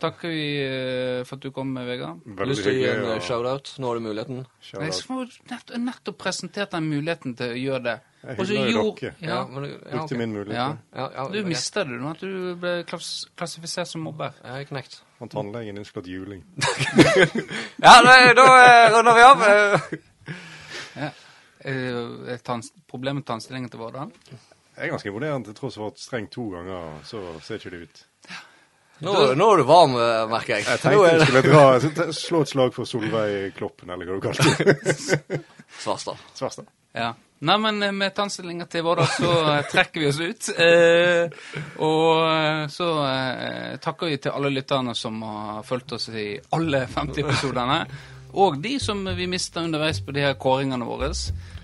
Speaker 1: takker vi eh, for at du kom, Vegard.
Speaker 3: Veldig
Speaker 2: Lyst til å gi en
Speaker 3: hyggelig.
Speaker 2: eh,
Speaker 3: og-
Speaker 2: shout-out? Nå har du muligheten.
Speaker 3: Shout
Speaker 1: Jeg
Speaker 3: out.
Speaker 1: har nettopp, nettopp presentert den muligheten til å gjøre det.
Speaker 3: Jeg
Speaker 1: Og så
Speaker 3: hyller jo
Speaker 1: gjorde-
Speaker 3: dere.
Speaker 1: Ja.
Speaker 2: men, du- ja,
Speaker 3: Brukte
Speaker 2: ok.
Speaker 3: min
Speaker 1: ja.
Speaker 3: mulighet.
Speaker 2: Ja, ja,
Speaker 1: Du
Speaker 2: men-
Speaker 1: mista det nå, at du ble klass klassifisert som mobber.
Speaker 2: Jeg er knekt.
Speaker 3: Han tannlegen din skulle hatt juling.
Speaker 2: Ja, nei, da eh, runder vi av. Eh,
Speaker 1: Ja. Eh, tanns- Problemet med tannstillingen til Vårdal?
Speaker 3: Det er ganske imponerende. til tross for at strengt to ganger, så ser ikke det ut.
Speaker 2: Nå, nå er du varm, eh, merker jeg.
Speaker 3: Jeg
Speaker 2: Nå
Speaker 3: tenkte
Speaker 2: er
Speaker 3: jeg
Speaker 2: det
Speaker 3: skulle dra, s- slå et slag for Solveig Kloppen, eller hva du kalte det.
Speaker 2: Svarstad.
Speaker 3: Svarstad.
Speaker 1: Ja. Nei, men eh, med tannstillinga til Vårdal så eh, trekker vi oss ut. Eh, og eh, så eh, takker vi til alle lytterne som har fulgt oss i alle 50 episodene. Og de som vi mista underveis på de her kåringene våre.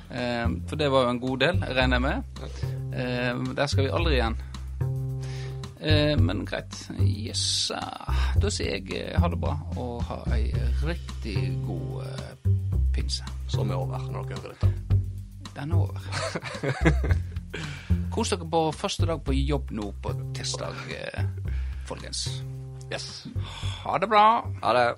Speaker 1: Eh, for det var jo en god del, regner jeg med. Eh, der skal vi aldri igjen. Eh, men greit. Yes. ah. Da sier jeg eh, ha det bra, og ha ei riktig god eh, pinse.
Speaker 2: Som er over når dere hører dette.
Speaker 1: Den er over. Kos dere på første dag på jobb nå på tirsdag, eh, folkens.
Speaker 2: Yes.
Speaker 1: Ha det bra.
Speaker 2: Ha det.